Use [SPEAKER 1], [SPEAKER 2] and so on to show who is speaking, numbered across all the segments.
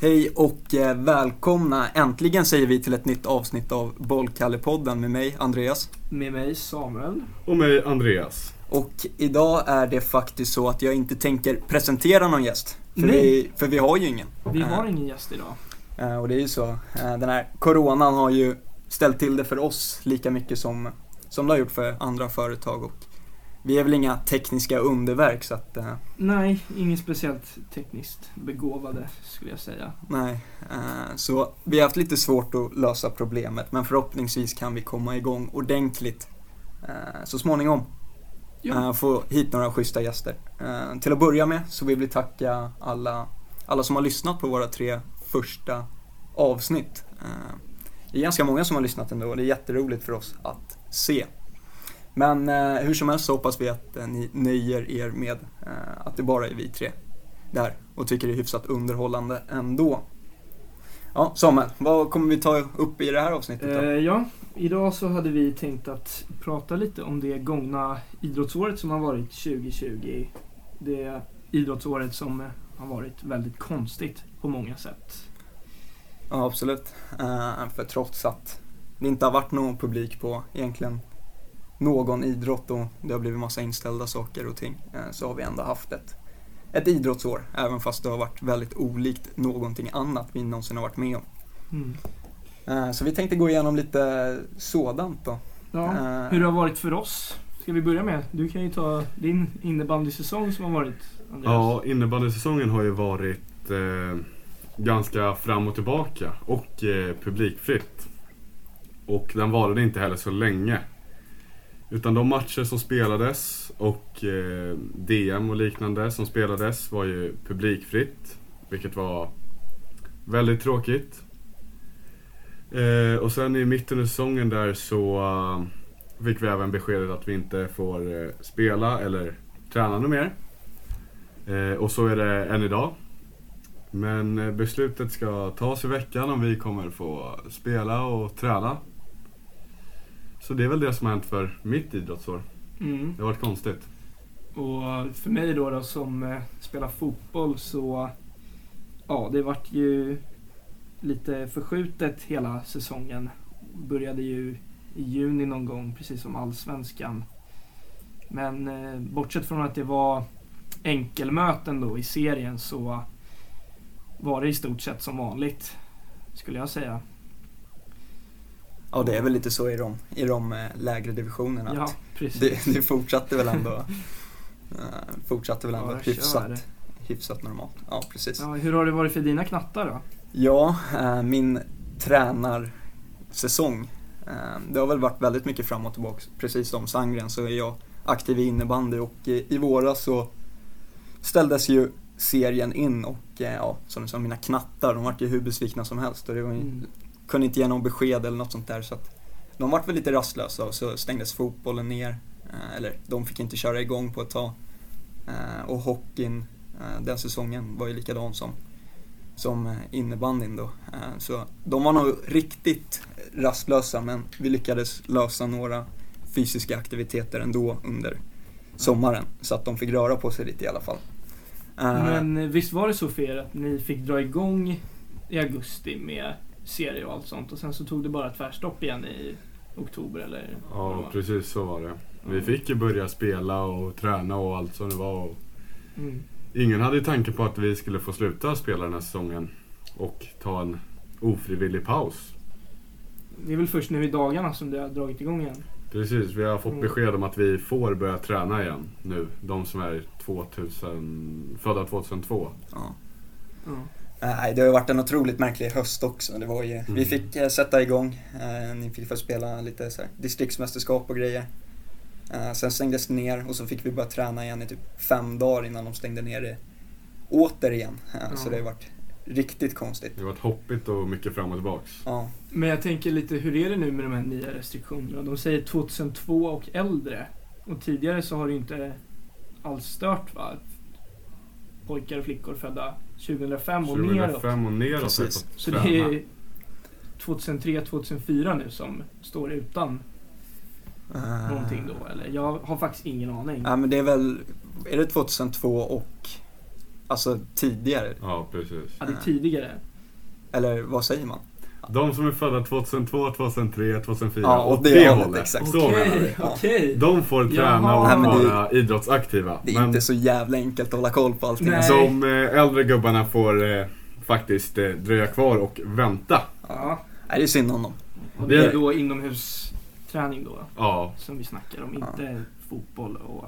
[SPEAKER 1] Hej och eh, välkomna äntligen säger vi till ett nytt avsnitt av Bollkallepodden med mig Andreas.
[SPEAKER 2] Med mig Samuel.
[SPEAKER 3] Och mig Andreas.
[SPEAKER 1] Och idag är det faktiskt så att jag inte tänker presentera någon gäst. För,
[SPEAKER 2] Nej.
[SPEAKER 1] vi, för vi har ju ingen.
[SPEAKER 2] Vi har
[SPEAKER 1] Eh,
[SPEAKER 2] ingen gäst idag.
[SPEAKER 1] eh, Och det är ju så. eh, Den här coronan har ju ställt till det för oss lika mycket som, som det har gjort för andra företag. Och vi är väl inga tekniska underverk så att eh,
[SPEAKER 2] Nej, ingen speciellt tekniskt begåvade skulle jag säga.
[SPEAKER 1] Nej, eh, så vi har haft lite svårt att lösa problemet men förhoppningsvis kan vi komma igång ordentligt eh, så småningom.
[SPEAKER 2] Ja.
[SPEAKER 1] Eh, Få hit några schyssta gäster. Eh, Till att börja med så vill vi tacka alla, alla som har lyssnat på våra tre första avsnitt. Eh, Det är ganska många som har lyssnat ändå och det är jätteroligt för oss att se. Men eh, hur som helst så hoppas vi att eh, ni nöjer er med eh, att det bara är vi tre där och tycker det är hyfsat underhållande ändå. Ja, Samuel, vad kommer vi ta upp i det här avsnittet då?
[SPEAKER 2] Eh, ja, idag så hade vi tänkt att prata lite om det gångna idrottsåret som har varit 2020. Det idrottsåret som eh, har varit väldigt konstigt på många sätt.
[SPEAKER 1] Ja, absolut. Eh, för trots att det inte har varit någon publik på egentligen någon idrott och det har blivit massa inställda saker och ting eh, så har vi ändå haft ett, ett idrottsår även fast det har varit väldigt olikt någonting annat vi någonsin har varit med om.
[SPEAKER 2] Mm.
[SPEAKER 1] Eh, så vi tänkte gå igenom lite sådant då.
[SPEAKER 2] Ja,
[SPEAKER 1] Eh,
[SPEAKER 2] hur det har varit för oss. Ska vi börja med? Du kan ju ta din innebandysäsong som har varit, Andreas.
[SPEAKER 3] Ja, innebandysäsongen har ju varit eh, ganska fram och tillbaka och eh, publikfritt. Och den varade inte heller så länge. Utan de matcher som spelades och eh, DM och liknande som spelades var ju publikfritt. Vilket var väldigt tråkigt. Eh, och sen i mitten av säsongen där så eh, fick vi även beskedet att vi inte får eh, spela eller träna något mer. Eh, och så är det än idag. Men eh, beslutet ska tas i veckan om vi kommer få spela och träna. Så det är väl det som har hänt för mitt idrottsår.
[SPEAKER 2] Mm.
[SPEAKER 3] Det har varit konstigt.
[SPEAKER 2] Och för mig då, då som eh, spelar fotboll så ja, det vart ju lite förskjutet hela säsongen. Började ju i juni någon gång, precis som allsvenskan. Men eh, bortsett från att det var enkelmöten då i serien så var det i stort sett som vanligt, skulle jag säga.
[SPEAKER 1] Ja, det är väl lite så i de, i de eh, lägre divisionerna.
[SPEAKER 2] Ja,
[SPEAKER 1] att
[SPEAKER 2] precis.
[SPEAKER 1] Det, det fortsatte väl ändå, eh, fortsatte väl ändå
[SPEAKER 2] Ja, kör det.
[SPEAKER 1] hyfsat, hyfsat normalt. Ja, precis.
[SPEAKER 2] Ja, hur har det varit för dina knattar då?
[SPEAKER 1] Ja, eh, min tränarsäsong. eh, Det har väl varit väldigt mycket fram och tillbaka. Precis som Sandgren så är jag aktiv i innebandy och i i våras så ställdes ju serien in och eh, ja, som, som mina knattar, de vart ju hur besvikna som helst och det var ju,
[SPEAKER 2] Mm.
[SPEAKER 1] kunde inte ge någon besked eller något sånt där så att de vart väl lite rastlösa och så stängdes fotbollen ner. eh, Eller de fick inte köra igång på ett tag. Eh, Och hockeyn eh, den säsongen var ju likadan som som eh, innebandyn då. Eh, Så de var nog riktigt rastlösa men vi lyckades lösa några fysiska aktiviteter ändå under sommaren så att de fick röra på sig lite i alla fall. Eh,
[SPEAKER 2] Men visst var det så för er att ni fick dra igång i augusti med serie och allt sånt och sen så tog det bara tvärstopp igen i oktober eller? vad det
[SPEAKER 3] Ja,
[SPEAKER 2] var?
[SPEAKER 3] precis så var det. Vi
[SPEAKER 2] Mm.
[SPEAKER 3] fick ju börja spela och träna och allt som det var. Och
[SPEAKER 2] Mm.
[SPEAKER 3] ingen hade ju tanken på att vi skulle få sluta spela den här säsongen och ta en ofrivillig paus.
[SPEAKER 2] Det är väl först nu i dagarna som det har dragit igång igen?
[SPEAKER 3] Precis, vi har
[SPEAKER 2] Mm.
[SPEAKER 3] fått besked om att vi får börja träna igen nu. De som är 2000, födda 2002.
[SPEAKER 1] ja.
[SPEAKER 2] Ja.
[SPEAKER 1] Nej, det har ju varit en otroligt märklig höst också. Det var ju, Vi
[SPEAKER 3] Mm.
[SPEAKER 1] fick eh, sätta igång, eh, ni fick få spela lite så här, distriktsmästerskap och grejer. Eh, sen stängdes det ner och så fick vi börja träna igen i typ fem dagar innan de stängde ner det återigen. Eh, Så
[SPEAKER 2] Ja.
[SPEAKER 1] det har varit riktigt konstigt.
[SPEAKER 3] Det har varit hoppigt och mycket fram och tillbaks.
[SPEAKER 1] Ja,
[SPEAKER 2] Men jag tänker lite, hur är det nu med de här nya restriktionerna? De säger 2002 och äldre. Och tidigare så har det ju inte alls stört va? Pojkar och flickor födda 2005 och neråt.
[SPEAKER 3] 2005 och neråt har vi
[SPEAKER 1] Precis.
[SPEAKER 3] fått
[SPEAKER 2] Så
[SPEAKER 3] träna.
[SPEAKER 2] det är 2003, 2004 nu som står utan
[SPEAKER 1] eh,
[SPEAKER 2] någonting då eller? Jag har faktiskt ingen aning.
[SPEAKER 1] Nej, men det är väl, är det 2002 och alltså tidigare?
[SPEAKER 3] Ja, precis.
[SPEAKER 2] Ja, det är tidigare.
[SPEAKER 1] Eller vad säger man?
[SPEAKER 3] De som är födda 2002, 2003, 2004,
[SPEAKER 1] Ja,
[SPEAKER 3] åt
[SPEAKER 1] åt
[SPEAKER 3] det,
[SPEAKER 1] det hållet,
[SPEAKER 3] hållet.
[SPEAKER 1] exakt.
[SPEAKER 3] Så menar vi.
[SPEAKER 2] Okej,
[SPEAKER 1] Ja.
[SPEAKER 2] okej.
[SPEAKER 3] De får träna
[SPEAKER 2] Jaha.
[SPEAKER 3] och
[SPEAKER 1] Nej, men det-
[SPEAKER 3] vara idrottsaktiva.
[SPEAKER 1] Det är inte så jävla enkelt att hålla koll på allting.
[SPEAKER 2] Nej.
[SPEAKER 3] de eh, äldre gubbarna får eh, faktiskt eh, dröja kvar och vänta.
[SPEAKER 2] Ja.
[SPEAKER 1] Nej, det är synd om dem.
[SPEAKER 2] Och det är
[SPEAKER 3] Det-
[SPEAKER 2] då inomhusträning då
[SPEAKER 3] Ja,
[SPEAKER 2] som vi snackar om.
[SPEAKER 1] Ja.
[SPEAKER 2] Inte fotboll och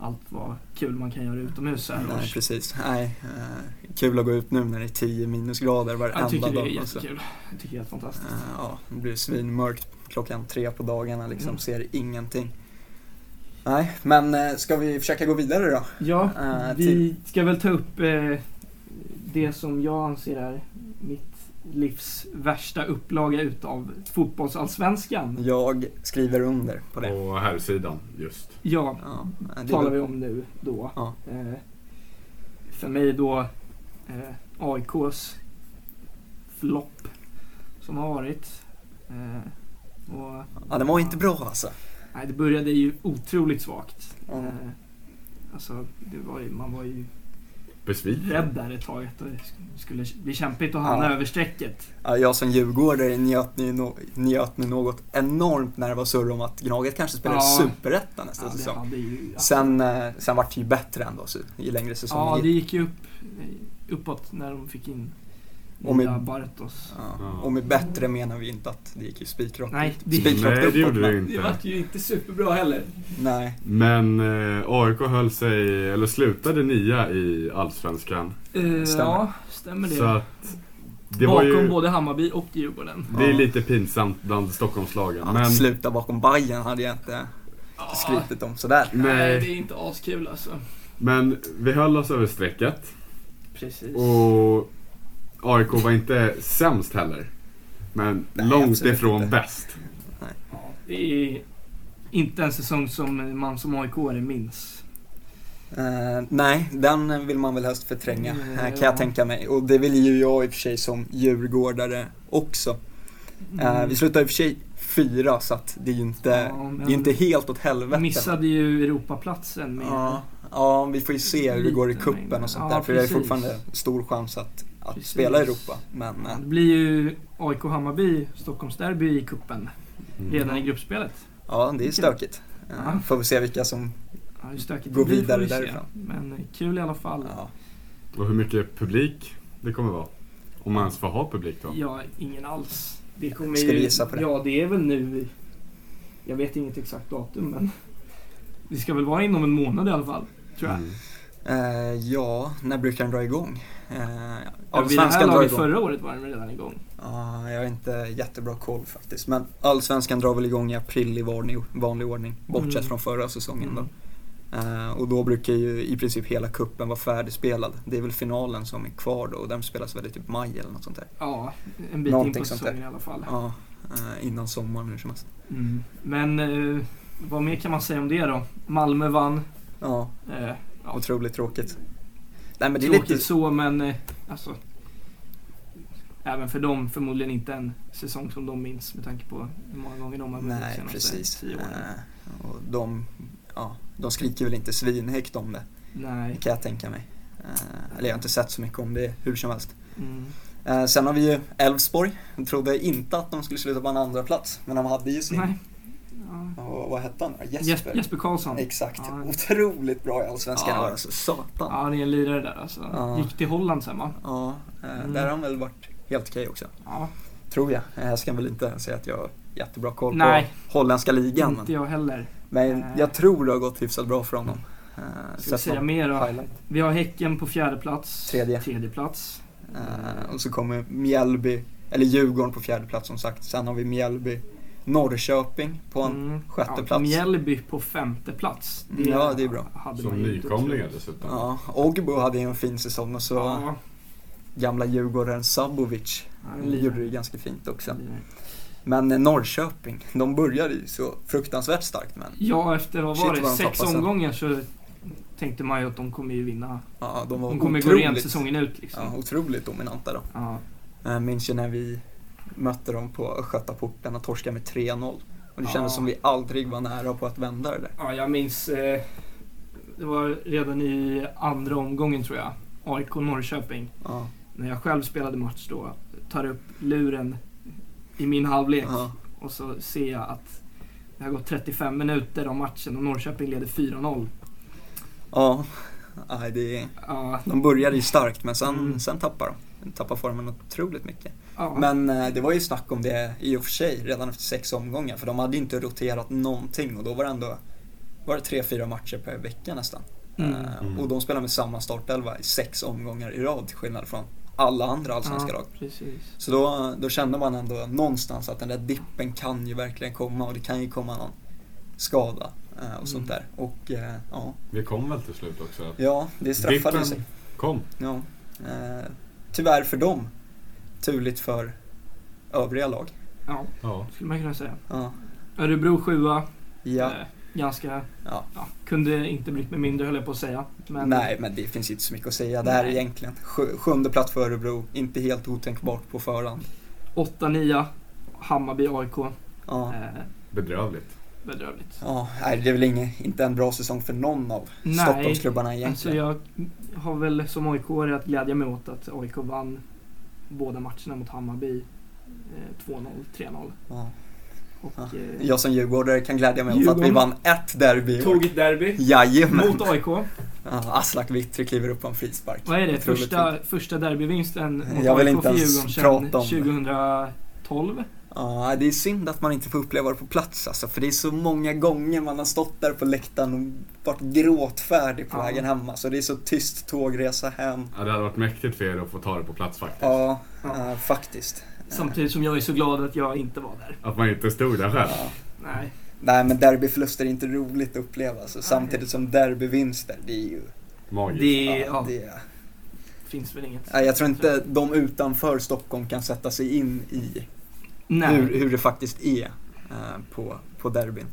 [SPEAKER 2] allt vad kul man kan göra utomhus så här
[SPEAKER 1] Nej,
[SPEAKER 2] års.
[SPEAKER 1] precis. Nej, eh, kul att gå ut nu när det är 10 minusgrader varenda
[SPEAKER 2] Jag tycker det är
[SPEAKER 1] dag. alltså.
[SPEAKER 2] jättekul. Jag tycker det är helt fantastiskt.
[SPEAKER 1] Eh, Ja, det blir svinmörkt klockan tre på dagarna liksom,
[SPEAKER 2] Mm.
[SPEAKER 1] ser ingenting. Nej, men eh, ska vi försöka gå vidare då?
[SPEAKER 2] Ja,
[SPEAKER 1] Eh,
[SPEAKER 2] vi ska väl ta upp eh, det som jag anser är mitt livs värsta upplaga utav fotbollsallsvenskan.
[SPEAKER 1] Jag skriver under på det.
[SPEAKER 3] på herrsidan just.
[SPEAKER 2] Ja,
[SPEAKER 1] Ja, eh, det är
[SPEAKER 2] talar
[SPEAKER 1] väl-
[SPEAKER 2] vi om nu då.
[SPEAKER 1] Ja.
[SPEAKER 2] Eh, för mig då eh, AIKs flopp som har varit. Eh, och,
[SPEAKER 1] Ja, den var inte bra alltså.
[SPEAKER 2] Nej, det började ju otroligt svagt.
[SPEAKER 1] Mm.
[SPEAKER 2] Eh, alltså, det var ju, man var ju
[SPEAKER 3] Besviken.
[SPEAKER 2] rädd där ett tag att det skulle bli kämpigt att hamna
[SPEAKER 1] Mm. Ja.
[SPEAKER 2] över strecket.
[SPEAKER 1] Ja, jag som djurgårdare njöt nu, no- njöt nu något enormt när det var surr om att Gnaget kanske spelar i
[SPEAKER 2] Ja.
[SPEAKER 1] Superettan nästa
[SPEAKER 2] Ja, det
[SPEAKER 1] säsong.
[SPEAKER 2] hade ju, ja.
[SPEAKER 1] Alltså, Sen, eh, sen vart det ju bättre ändå så, ju längre säsongen
[SPEAKER 2] ja,
[SPEAKER 1] gick.
[SPEAKER 2] det gick ju upp, eh, uppåt när de fick in
[SPEAKER 1] Och med-
[SPEAKER 2] nya Bartos.
[SPEAKER 1] Ja. Och med bättre menar vi inte att det gick ju spikrakt.
[SPEAKER 2] Nej, det-
[SPEAKER 1] Spikrakt
[SPEAKER 3] Nej, det
[SPEAKER 1] uppåt,
[SPEAKER 3] gjorde
[SPEAKER 1] men-
[SPEAKER 3] det ju inte.
[SPEAKER 2] ju inte superbra heller.
[SPEAKER 1] Nej,
[SPEAKER 3] Men eh, AIK höll sig, eller slutade nia i Allsvenskan.
[SPEAKER 1] Stämmer.
[SPEAKER 2] Eh, Ja, stämmer det.
[SPEAKER 3] Så att det var
[SPEAKER 2] Bakom
[SPEAKER 3] ju...
[SPEAKER 2] både Hammarby och Djurgården.
[SPEAKER 3] Det är lite pinsamt bland Stockholmslagen.
[SPEAKER 1] Ja,
[SPEAKER 3] men
[SPEAKER 1] Sluta bakom Bayern hade jag inte skrytit om sådär.
[SPEAKER 3] Nej. Nej, det
[SPEAKER 2] är inte askul alltså.
[SPEAKER 3] Men vi höll oss över strecket
[SPEAKER 2] Precis.
[SPEAKER 3] och AIK var inte sämst heller. Men
[SPEAKER 1] Nej,
[SPEAKER 3] långt
[SPEAKER 1] absolut
[SPEAKER 3] ifrån
[SPEAKER 1] inte.
[SPEAKER 3] bäst.
[SPEAKER 2] Ja, det är inte en säsong som man som aik minns.
[SPEAKER 1] Eh, nej, den vill man väl helst förtränga
[SPEAKER 2] Mm,
[SPEAKER 1] eh, kan
[SPEAKER 2] ja.
[SPEAKER 1] jag tänka mig. Och det vill ju jag i och för sig som djurgårdare också. Eh, vi slutade i och för sig fyra så att det är ju inte,
[SPEAKER 2] Mm. Ja, men-
[SPEAKER 1] det är inte helt åt helvete.
[SPEAKER 2] missade ju Europaplatsen med...
[SPEAKER 1] Ja, ja, vi får ju se hur det går i
[SPEAKER 2] Lite,
[SPEAKER 1] kuppen och sånt
[SPEAKER 2] men-
[SPEAKER 1] där.
[SPEAKER 2] ja,
[SPEAKER 1] För det är
[SPEAKER 2] precis.
[SPEAKER 1] fortfarande stor chans att, att
[SPEAKER 2] Precis.
[SPEAKER 1] spela i Europa. Men
[SPEAKER 2] Ja,
[SPEAKER 1] eh,
[SPEAKER 2] Det blir ju AIK-Hammarby, Stockholmsderby i kuppen
[SPEAKER 1] Mm.
[SPEAKER 3] Mm.
[SPEAKER 2] redan i gruppspelet.
[SPEAKER 1] ja, det är stökigt. Eh,
[SPEAKER 2] Ja.
[SPEAKER 1] Får vi se vilka som...
[SPEAKER 2] Ja, hur stökigt
[SPEAKER 1] Gå
[SPEAKER 2] det blir får
[SPEAKER 1] vidare
[SPEAKER 2] vi se.
[SPEAKER 1] därifrån.
[SPEAKER 2] Men kul i alla fall.
[SPEAKER 1] Ja.
[SPEAKER 3] Och hur mycket publik det kommer vara. Om man ens får ha publik då.
[SPEAKER 2] Ja, ingen alls. Det kommer
[SPEAKER 1] Ska vi
[SPEAKER 2] ju-
[SPEAKER 1] gissa på det?
[SPEAKER 2] Ja, det är väl nu... i- Jag vet inget exakt datum, men... Det ska väl vara inom en månad i alla fall, tror jag.
[SPEAKER 3] Mm.
[SPEAKER 1] Eh, ja, när brukar den dra igång? Eh,
[SPEAKER 2] Ja, vid det här
[SPEAKER 1] Allsvenskan drar
[SPEAKER 2] laget
[SPEAKER 1] igång.
[SPEAKER 2] förra året var den väl redan igång.
[SPEAKER 1] Ja, jag har inte jättebra koll faktiskt. Men Allsvenskan drar väl igång i april i vanlig, vanlig ordning. Bortsett
[SPEAKER 2] Mm.
[SPEAKER 1] från förra säsongen då.
[SPEAKER 2] Mm.
[SPEAKER 1] Eh, och då brukar ju i princip hela kuppen vara färdigspelad. Det är väl finalen som är kvar då och den spelas väl i typ maj eller något sånt där.
[SPEAKER 2] Ja, en bit in
[SPEAKER 1] Någonting
[SPEAKER 2] på
[SPEAKER 1] sånt där.
[SPEAKER 2] säsongen i alla fall.
[SPEAKER 1] Ja, eh, innan sommaren hur som helst.
[SPEAKER 2] Mm. Men eh, vad mer kan man säga om det då? Malmö vann.
[SPEAKER 1] Ja,
[SPEAKER 2] Eh, ja,
[SPEAKER 1] otroligt tråkigt. Nej men det är
[SPEAKER 2] tråkigt
[SPEAKER 1] lite...
[SPEAKER 2] så, men eh, alltså. Även för dem förmodligen inte en säsong som de minns med tanke på hur många gånger de har vunnit
[SPEAKER 1] Nej,
[SPEAKER 2] senaste
[SPEAKER 1] precis.
[SPEAKER 2] tio åren.
[SPEAKER 1] Eh, och de, ja, de skriker väl inte svinhögt om det.
[SPEAKER 2] Nej.
[SPEAKER 1] kan jag tänka mig. Eh, eller jag har inte sett så mycket om det hur som helst.
[SPEAKER 2] Mm.
[SPEAKER 1] Eh, sen har vi ju Elfsborg. Jag trodde inte att de skulle sluta på en andra plats men de hade ju sin...
[SPEAKER 2] Nej. Ja.
[SPEAKER 1] Och, vad hette han då? Jesper?
[SPEAKER 2] Jesper. Jesper Karlsson.
[SPEAKER 1] Exakt.
[SPEAKER 2] Ja.
[SPEAKER 1] Otroligt bra i Allsvenskan
[SPEAKER 2] Ja.
[SPEAKER 1] ja. alltså. Satan. Ja.
[SPEAKER 2] Ja, det är en lirare där alltså.
[SPEAKER 1] Ja.
[SPEAKER 2] Gick till Holland sen va?
[SPEAKER 1] eh,
[SPEAKER 2] Mm.
[SPEAKER 1] Där har han väl varit helt okej också.
[SPEAKER 2] Ja,
[SPEAKER 1] Tror jag. Eh, Jag ska väl inte säga att jag har jättebra koll
[SPEAKER 2] Nej.
[SPEAKER 1] på holländska ligan.
[SPEAKER 2] inte
[SPEAKER 1] Men,
[SPEAKER 2] jag heller.
[SPEAKER 1] men
[SPEAKER 2] Nej.
[SPEAKER 1] jag tror det har gått hyfsat bra för honom. Eh,
[SPEAKER 2] Ska vi
[SPEAKER 1] sett
[SPEAKER 2] säga
[SPEAKER 1] någon
[SPEAKER 2] mer då?
[SPEAKER 1] highlight.
[SPEAKER 2] Vi har Häcken på fjärde plats.
[SPEAKER 1] Tredje.
[SPEAKER 2] Tredje plats.
[SPEAKER 1] Eh, och så kommer Mjällby, eller Djurgården på fjärde plats som sagt. Sen har vi Mjällby, Norrköping på en...
[SPEAKER 2] Mm.
[SPEAKER 1] sjätte
[SPEAKER 2] Ja,
[SPEAKER 1] plats. Mm,
[SPEAKER 2] Mjällby på femte plats.
[SPEAKER 1] Ja, det är bra.
[SPEAKER 2] hade man
[SPEAKER 3] Som
[SPEAKER 2] ju inte
[SPEAKER 3] nykomlingar
[SPEAKER 2] trott.
[SPEAKER 3] dessutom.
[SPEAKER 1] Ja, Ogbo hade ju en fin säsong och så
[SPEAKER 2] Ja,
[SPEAKER 1] gamla Djurgården Sabovic
[SPEAKER 2] han är en
[SPEAKER 1] gjorde det ju
[SPEAKER 2] lirare.
[SPEAKER 1] ganska fint också.
[SPEAKER 2] Lirare.
[SPEAKER 1] Men eh, Norrköping, de började ju så fruktansvärt starkt men
[SPEAKER 2] Ja, efter vad
[SPEAKER 1] Shit,
[SPEAKER 2] var det?
[SPEAKER 1] vad de
[SPEAKER 2] Sex
[SPEAKER 1] tappade sen.
[SPEAKER 2] omgångar så tänkte man ju att de kommer ju vinna.
[SPEAKER 1] ja, de var
[SPEAKER 2] De kommer gå rent
[SPEAKER 1] otroligt,
[SPEAKER 2] säsongen ut
[SPEAKER 1] ja,
[SPEAKER 2] liksom.
[SPEAKER 1] otroligt dominanta då.
[SPEAKER 2] Ja.
[SPEAKER 1] Jag Eh, minns ju när vi mötte dem på Östgötaporten och torskade med 3-0. Och det
[SPEAKER 2] Ja.
[SPEAKER 1] kändes som vi aldrig var nära på att vända det där.
[SPEAKER 2] ja, jag minns... Eh, det var redan i andra omgången tror jag. AIK Norrköping.
[SPEAKER 1] Ja,
[SPEAKER 2] när jag själv spelade match då, tar upp luren i min halvlek
[SPEAKER 1] Ja.
[SPEAKER 2] och så ser jag att det har gått 35 minuter av matchen och Norrköping leder 4-0.
[SPEAKER 1] Ja. Nej, det är,
[SPEAKER 2] Ja,
[SPEAKER 1] de började ju starkt men sen,
[SPEAKER 2] Mm.
[SPEAKER 1] sen tappade de. de. Tappade formen otroligt mycket.
[SPEAKER 2] ja.
[SPEAKER 1] Men eh, det var ju snack om det i och för sig redan efter sex omgångar för de hade ju inte roterat någonting och då var det ändå var det tre, fyra matcher per vecka nästan.
[SPEAKER 2] Mm.
[SPEAKER 1] Eh,
[SPEAKER 3] Mm.
[SPEAKER 1] Och de spelade med samma startelva i sex omgångar i rad till skillnad från alla andra allsvenska
[SPEAKER 2] ja,
[SPEAKER 1] lag.
[SPEAKER 2] Precis.
[SPEAKER 1] Så då, då kände man ändå någonstans att den där dippen kan ju verkligen komma och det kan ju komma någon skada eh, och
[SPEAKER 2] Mm.
[SPEAKER 1] sånt där. Och eh, ja,
[SPEAKER 3] Vi kom väl till slut också? Att
[SPEAKER 1] ja, det straffade
[SPEAKER 3] Dippen
[SPEAKER 1] sig.
[SPEAKER 3] Kom.
[SPEAKER 1] Ja. Eh, tyvärr för dem. Turligt för övriga lag.
[SPEAKER 2] Ja,
[SPEAKER 3] Ja.
[SPEAKER 2] skulle man kunna säga.
[SPEAKER 1] Ja.
[SPEAKER 2] Örebro 7
[SPEAKER 1] ja.
[SPEAKER 2] Eh, ganska...
[SPEAKER 1] Ja.
[SPEAKER 2] Ja. kunde inte brytt mig mindre höll jag på att säga. Men,
[SPEAKER 1] Nej, men det finns inte så mycket att säga där
[SPEAKER 2] Nej.
[SPEAKER 1] egentligen. Sjö, sjunde plats för Örebro, inte helt otänkbart på förhand.
[SPEAKER 2] 8-9, Hammarby AIK.
[SPEAKER 1] Ja,
[SPEAKER 2] Eh,
[SPEAKER 3] Bedrövligt.
[SPEAKER 2] bedrövligt.
[SPEAKER 1] ja nej, det är väl ingen, inte en bra säsong för någon av
[SPEAKER 2] Nej,
[SPEAKER 1] Stockholmsklubbarna
[SPEAKER 2] Alltså
[SPEAKER 1] egentligen.
[SPEAKER 2] jag har väl som aik att glädja mig åt att AIK vann båda matcherna mot Hammarby. Eh, 2-0, 3-0.
[SPEAKER 1] Ja.
[SPEAKER 2] Och
[SPEAKER 1] Ja.
[SPEAKER 2] eh,
[SPEAKER 1] Jag som djurgårdare kan glädja mig åt att vi
[SPEAKER 2] Djurgården.
[SPEAKER 1] vann ett derby i år.
[SPEAKER 2] tog ett derby
[SPEAKER 1] Jajamän!
[SPEAKER 2] mot AIK.
[SPEAKER 1] Ja, Aslak Vittry kliver upp på en frispark.
[SPEAKER 2] Vad är det?
[SPEAKER 1] Otroligt fint.
[SPEAKER 2] Första, första derbyvinsten mot
[SPEAKER 1] Jag vill
[SPEAKER 2] AIK
[SPEAKER 1] inte
[SPEAKER 2] för
[SPEAKER 1] ens
[SPEAKER 2] Djurgården
[SPEAKER 1] prata om det.
[SPEAKER 2] sedan 2012.
[SPEAKER 1] Ja, det är synd att man inte får uppleva det på plats alltså, för det är så många gånger man har stått där på läktaren och varit gråtfärdig på
[SPEAKER 2] Ja.
[SPEAKER 1] vägen hem. Alltså, det är så tyst tågresa hem.
[SPEAKER 3] Ja, det hade varit mäktigt för er att få ta det på plats faktiskt.
[SPEAKER 1] Ja,
[SPEAKER 2] Ja.
[SPEAKER 1] eh, faktiskt.
[SPEAKER 2] Samtidigt som jag är så glad att jag inte var där.
[SPEAKER 3] Att man inte stod där själv.
[SPEAKER 1] Ja.
[SPEAKER 2] Nej.
[SPEAKER 1] Nej men derbyförluster är inte roligt att uppleva alltså,
[SPEAKER 2] Nej.
[SPEAKER 1] samtidigt som derbyvinster, det är ju...
[SPEAKER 3] Magiskt.
[SPEAKER 2] Det,
[SPEAKER 1] ja,
[SPEAKER 2] ja,
[SPEAKER 1] det är,
[SPEAKER 2] finns väl inget.
[SPEAKER 1] nej, jag tror inte de utanför Stockholm kan sätta sig in i
[SPEAKER 2] Nej.
[SPEAKER 1] hur, hur det faktiskt är eh, på, på derbyn.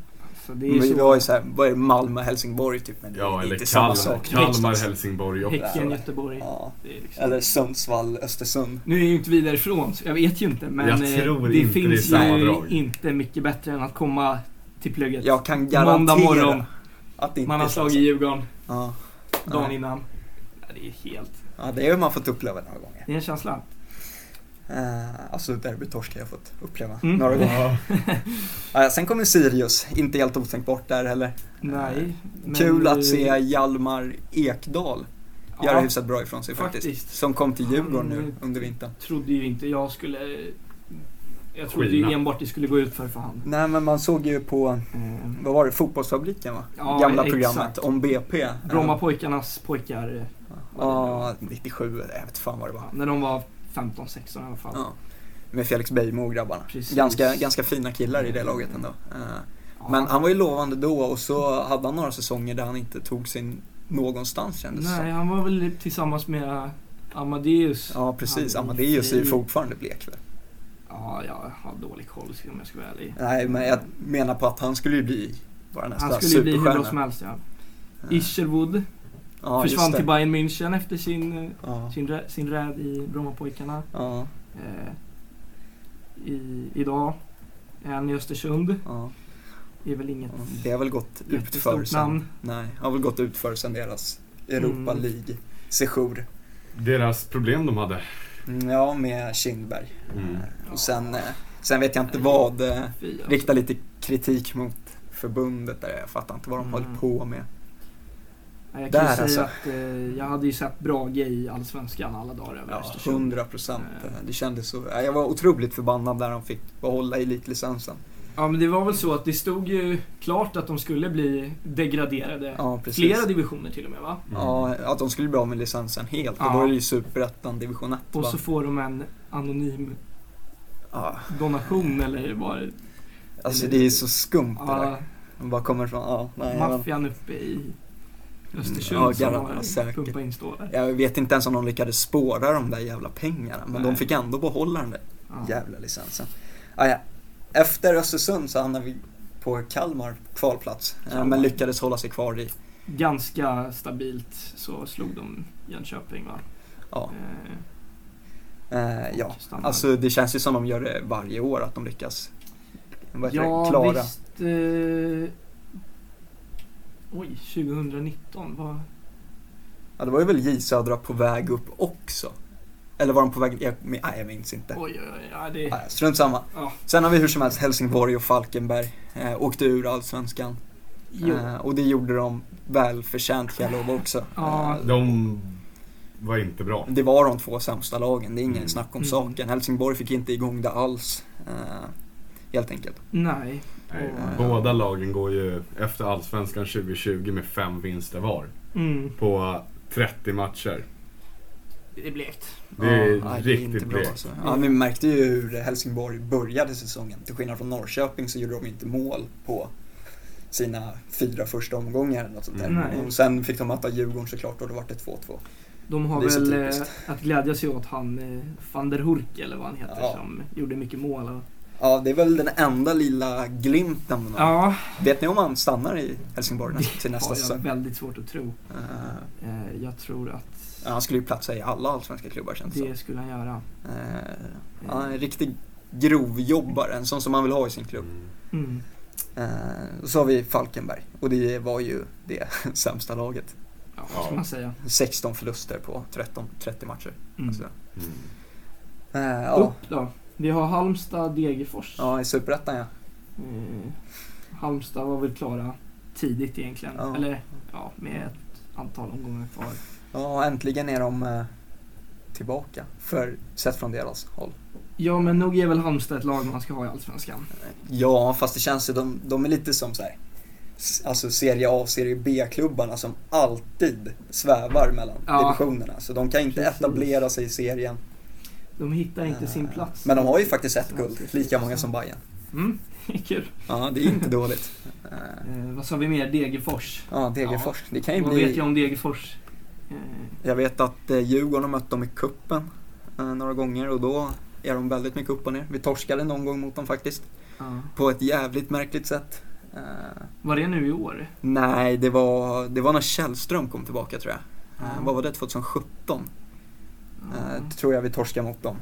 [SPEAKER 2] Så det är
[SPEAKER 1] Vi, vi
[SPEAKER 2] så.
[SPEAKER 1] har ju såhär, vad är det, Malmö, Helsingborg typ, men det
[SPEAKER 3] Ja,
[SPEAKER 1] är
[SPEAKER 3] eller
[SPEAKER 1] inte samma
[SPEAKER 3] Kalmar,
[SPEAKER 1] sak.
[SPEAKER 3] Kalmar Helsingborg också.
[SPEAKER 2] Häcken, Göteborg.
[SPEAKER 1] Ja,
[SPEAKER 2] Det är liksom.
[SPEAKER 1] eller Sundsvall, Östersund.
[SPEAKER 2] Nu är ju inte vi därifrån, så jag vet ju inte. Men
[SPEAKER 3] Jag
[SPEAKER 2] eh,
[SPEAKER 3] tror
[SPEAKER 2] det
[SPEAKER 3] inte det är
[SPEAKER 2] finns
[SPEAKER 3] samma
[SPEAKER 2] ju
[SPEAKER 3] drag.
[SPEAKER 2] inte mycket bättre än att komma till plugget.
[SPEAKER 1] Jag kan
[SPEAKER 2] Måndag morgon,
[SPEAKER 1] garantera att det inte
[SPEAKER 2] man har
[SPEAKER 1] är samma
[SPEAKER 2] slagit
[SPEAKER 1] sak.
[SPEAKER 2] Djurgården
[SPEAKER 1] Ja.
[SPEAKER 2] dagen
[SPEAKER 1] Nej.
[SPEAKER 2] innan. Nej, Det är helt...
[SPEAKER 1] ja, det har man fått uppleva några gånger.
[SPEAKER 2] Det är en känsla.
[SPEAKER 1] Eh, alltså derbytorsk har jag fått uppleva
[SPEAKER 2] Mm.
[SPEAKER 1] några gånger.
[SPEAKER 3] Ja.
[SPEAKER 1] Eh, sen kommer Sirius, inte helt otänkbart där heller.
[SPEAKER 2] Nej. men-
[SPEAKER 1] Kul att se Hjalmar Ekdal göra
[SPEAKER 2] Ja,
[SPEAKER 1] hyfsat bra ifrån sig faktiskt.
[SPEAKER 2] Faktiskt.
[SPEAKER 1] Som kom till Djurgården nu
[SPEAKER 2] Han-
[SPEAKER 1] under vintern.
[SPEAKER 2] trodde ju inte jag skulle... Jag trodde ju
[SPEAKER 3] Skina.
[SPEAKER 2] enbart det skulle gå ut för för han.
[SPEAKER 1] Nej men man såg ju på,
[SPEAKER 2] Eh,
[SPEAKER 1] vad var det, Fotbollsfabriken va?
[SPEAKER 2] Ja,
[SPEAKER 1] Gamla
[SPEAKER 2] exakt.
[SPEAKER 1] programmet om BP. Eh,
[SPEAKER 2] Brommapojkarnas pojkar. eh,
[SPEAKER 1] Ja, 97, jag vet fan vad det var.
[SPEAKER 2] Ja, när de var 15-16 i alla fall.
[SPEAKER 1] Ja. Med Felix Beijmo och grabbarna.
[SPEAKER 2] Precis.
[SPEAKER 1] Ganska, ganska fina killar i det laget ändå. Eh,
[SPEAKER 2] Ja.
[SPEAKER 1] Men han var ju lovande då och så hade han några säsonger där han inte tog sin någonstans kändes det
[SPEAKER 2] Nej,
[SPEAKER 1] som.
[SPEAKER 2] han var väl tillsammans med Amadeus. Ja,
[SPEAKER 1] Ja precis,
[SPEAKER 2] Han-
[SPEAKER 1] Amadeus är ju fortfarande blek väl?
[SPEAKER 2] jag har dålig koll om jag ska vara ärlig.
[SPEAKER 1] Nej men jag menar på att han skulle ju bli vår nästa
[SPEAKER 2] Han skulle ju bli hur bra
[SPEAKER 1] superstjärna.
[SPEAKER 2] som helst ja.
[SPEAKER 1] Ja.
[SPEAKER 2] Isherwood
[SPEAKER 1] Ja, just
[SPEAKER 2] försvann
[SPEAKER 1] det.
[SPEAKER 2] till Bayern München efter sin, eh,
[SPEAKER 1] Ja,
[SPEAKER 2] sin, rä, sin räd i Brommapojkarna.
[SPEAKER 1] ja,
[SPEAKER 2] Eh, i, idag är han i Östersund.
[SPEAKER 1] ja.
[SPEAKER 2] Det är väl inget
[SPEAKER 1] Det har väl gått utför
[SPEAKER 2] jättestort
[SPEAKER 1] sen.
[SPEAKER 2] namn.
[SPEAKER 1] Nej, har väl gått utför sen deras Europa
[SPEAKER 2] Mm.
[SPEAKER 1] League sejour.
[SPEAKER 3] Deras problem de hade.
[SPEAKER 1] Mm, Ja, med Kindberg.
[SPEAKER 3] Mm.
[SPEAKER 1] Och sen, eh, sen vet jag inte vad. eh,
[SPEAKER 2] Fy, alltså.
[SPEAKER 1] Rikta lite kritik mot förbundet där. Jag fattar inte vad de
[SPEAKER 2] Mm.
[SPEAKER 1] höll på med.
[SPEAKER 2] Ja, Jag kan ju
[SPEAKER 1] Där
[SPEAKER 2] säga
[SPEAKER 1] alltså.
[SPEAKER 2] att eh, jag hade ju sett Brage i Allsvenskan alla dagar över
[SPEAKER 1] Ja,
[SPEAKER 2] Östersund.
[SPEAKER 1] 100 procent.
[SPEAKER 2] Eh.
[SPEAKER 1] Det kändes så. Ja, Jag var otroligt förbannad när de fick behålla elitlicensen.
[SPEAKER 2] Ja men det var väl så att det stod ju klart att de skulle bli degraderade.
[SPEAKER 1] Ja, precis.
[SPEAKER 2] Flera divisioner till och med va?
[SPEAKER 1] Ja, att de skulle bli av med licensen helt.
[SPEAKER 2] Ja.
[SPEAKER 1] Och då är det ju superettan, division 1.
[SPEAKER 2] Och
[SPEAKER 1] va?
[SPEAKER 2] så får de en anonym
[SPEAKER 1] ja.
[SPEAKER 2] donation eller vad
[SPEAKER 1] Alltså
[SPEAKER 2] Eller-
[SPEAKER 1] det är så skumt det där.
[SPEAKER 2] ja,
[SPEAKER 1] De bara kommer från, ja, nej, jag,
[SPEAKER 2] maffian uppe i Östersund
[SPEAKER 1] Ja,
[SPEAKER 2] som
[SPEAKER 1] garanterat,
[SPEAKER 2] har
[SPEAKER 1] säkert.
[SPEAKER 2] pumpat in stålar.
[SPEAKER 1] jag vet inte ens om de lyckades spåra de där jävla pengarna. Men de
[SPEAKER 2] Nej.
[SPEAKER 1] fick ändå behålla den där
[SPEAKER 2] Ja.
[SPEAKER 1] jävla licensen. Ah, Ja, ja. Efter Östersund så hamnade vi på Kalmar kvalplats. eh,
[SPEAKER 2] Kalmar.
[SPEAKER 1] Men lyckades hålla sig kvar i,
[SPEAKER 2] Ganska stabilt så slog de Jönköping va?
[SPEAKER 1] ja.
[SPEAKER 2] Eh,
[SPEAKER 1] Eh, ja.
[SPEAKER 2] standard.
[SPEAKER 1] Alltså det känns ju som de gör det varje år att de lyckas vad heter det,
[SPEAKER 2] ja
[SPEAKER 1] klara.
[SPEAKER 2] visst. Eh, oj, 2019 var...
[SPEAKER 1] Ja, det var ju väl J Södra på väg upp också? Eller var de på väg? Jag, men- nej, jag minns inte.
[SPEAKER 2] Oj, oj, oj. Ja, det,
[SPEAKER 1] Nej, strunt samma.
[SPEAKER 2] Ja.
[SPEAKER 1] Sen har vi hur som helst Helsingborg och Falkenberg. Eh, åkte ur Allsvenskan.
[SPEAKER 2] jo.
[SPEAKER 1] Eh, och det gjorde de välförtjänt kan jag lova också.
[SPEAKER 2] Ja.
[SPEAKER 1] Eh,
[SPEAKER 3] De var inte bra.
[SPEAKER 1] det var de två sämsta lagen, det är ingen
[SPEAKER 3] Mm.
[SPEAKER 1] snack om
[SPEAKER 2] Mm.
[SPEAKER 1] saken. Helsingborg fick inte igång det alls. Eh, helt enkelt.
[SPEAKER 2] Nej.
[SPEAKER 3] Nej,
[SPEAKER 2] Eh.
[SPEAKER 3] Båda lagen går ju efter Allsvenskan 2020 med fem vinster var
[SPEAKER 2] Mm.
[SPEAKER 3] på 30 matcher.
[SPEAKER 2] Det är blekt.
[SPEAKER 3] Det är
[SPEAKER 1] Ja, nej, det är
[SPEAKER 3] riktigt
[SPEAKER 1] inte bra
[SPEAKER 3] blekt.
[SPEAKER 1] alltså. ja, Vi märkte ju hur Helsingborg började säsongen. Till skillnad från Norrköping så gjorde de inte mål på sina fyra första omgångar eller något sånt där.
[SPEAKER 2] Nej.
[SPEAKER 1] Och sen fick de möta Djurgården såklart och då var det 2-2.
[SPEAKER 2] De har
[SPEAKER 1] Det är så
[SPEAKER 2] väl eh,
[SPEAKER 1] typiskt.
[SPEAKER 2] att glädja sig åt han eh, van der Hurk, eller vad han heter,
[SPEAKER 1] Ja.
[SPEAKER 2] som gjorde mycket mål. Och...
[SPEAKER 1] Ja, det är väl den enda lilla glimten man har.
[SPEAKER 2] Ja,
[SPEAKER 1] Vet ni om han stannar i Helsingborg nästa, till
[SPEAKER 2] det
[SPEAKER 1] nästa
[SPEAKER 2] har jag
[SPEAKER 1] säsong?
[SPEAKER 2] väldigt svårt att tro.
[SPEAKER 1] Eh,
[SPEAKER 2] Eh, jag tror att
[SPEAKER 1] ja, han skulle ju platsa i alla allsvenska klubbar känns det som.
[SPEAKER 2] det skulle han göra.
[SPEAKER 1] Eh,
[SPEAKER 2] Eh,
[SPEAKER 1] Han är Alltså. en riktig grovjobbare, en sån som man vill ha i sin klubb.
[SPEAKER 3] Mm.
[SPEAKER 2] Mm.
[SPEAKER 1] Eh, och så har vi Falkenberg och det var ju det sämsta laget.
[SPEAKER 2] Ja, vad
[SPEAKER 3] Ja.
[SPEAKER 2] ska man säga.
[SPEAKER 1] 16 förluster på 13, 30 matcher.
[SPEAKER 2] Mm. Oh.
[SPEAKER 1] Alltså.
[SPEAKER 3] Mm.
[SPEAKER 1] Eh, ja.
[SPEAKER 2] Upp då. Vi har Halmstad, Degerfors.
[SPEAKER 1] ja, i Superettan ja.
[SPEAKER 2] Eh, Halmstad var väl klara tidigt egentligen.
[SPEAKER 1] Ja.
[SPEAKER 2] Eller ja, med ett antal omgångar kvar.
[SPEAKER 1] Ja, äntligen är de eh, tillbaka. För, sett från deras håll.
[SPEAKER 2] Ja, men nog är väl Halmstad ett lag man ska ha i Allsvenskan.
[SPEAKER 1] Ja, fast det känns ju, de, de är lite som så här, s- alltså serie A och serie B-klubbarna som alltid svävar mellan
[SPEAKER 2] Ja.
[SPEAKER 1] divisionerna. Så de kan inte
[SPEAKER 2] Precis.
[SPEAKER 1] etablera sig i serien.
[SPEAKER 2] De hittar inte
[SPEAKER 1] Eh,
[SPEAKER 2] sin plats.
[SPEAKER 1] Men de har ju faktiskt ett guld, lika många som Bayern.
[SPEAKER 2] Mm, kul.
[SPEAKER 1] Ja, det är inte dåligt. Eh,
[SPEAKER 2] Eh, vad sa vi mer? Degerfors.
[SPEAKER 1] Ja, Degerfors. Det kan ju
[SPEAKER 2] Vad
[SPEAKER 1] bli...
[SPEAKER 2] vet jag om Degerfors? Eh,
[SPEAKER 1] Jag vet att eh, Djurgården har mött dem i kuppen eh, några gånger och då är de väldigt mycket upp och ner. Vi torskade någon gång mot dem faktiskt.
[SPEAKER 2] ja.
[SPEAKER 1] På ett jävligt märkligt sätt. Eh,
[SPEAKER 2] Var det nu i år?
[SPEAKER 1] nej, det var, det var när Källström kom tillbaka tror jag. Eh,
[SPEAKER 2] Ja.
[SPEAKER 1] vad var det? 2017?
[SPEAKER 2] Ja.
[SPEAKER 1] Eh, tror jag vi torskade mot dem.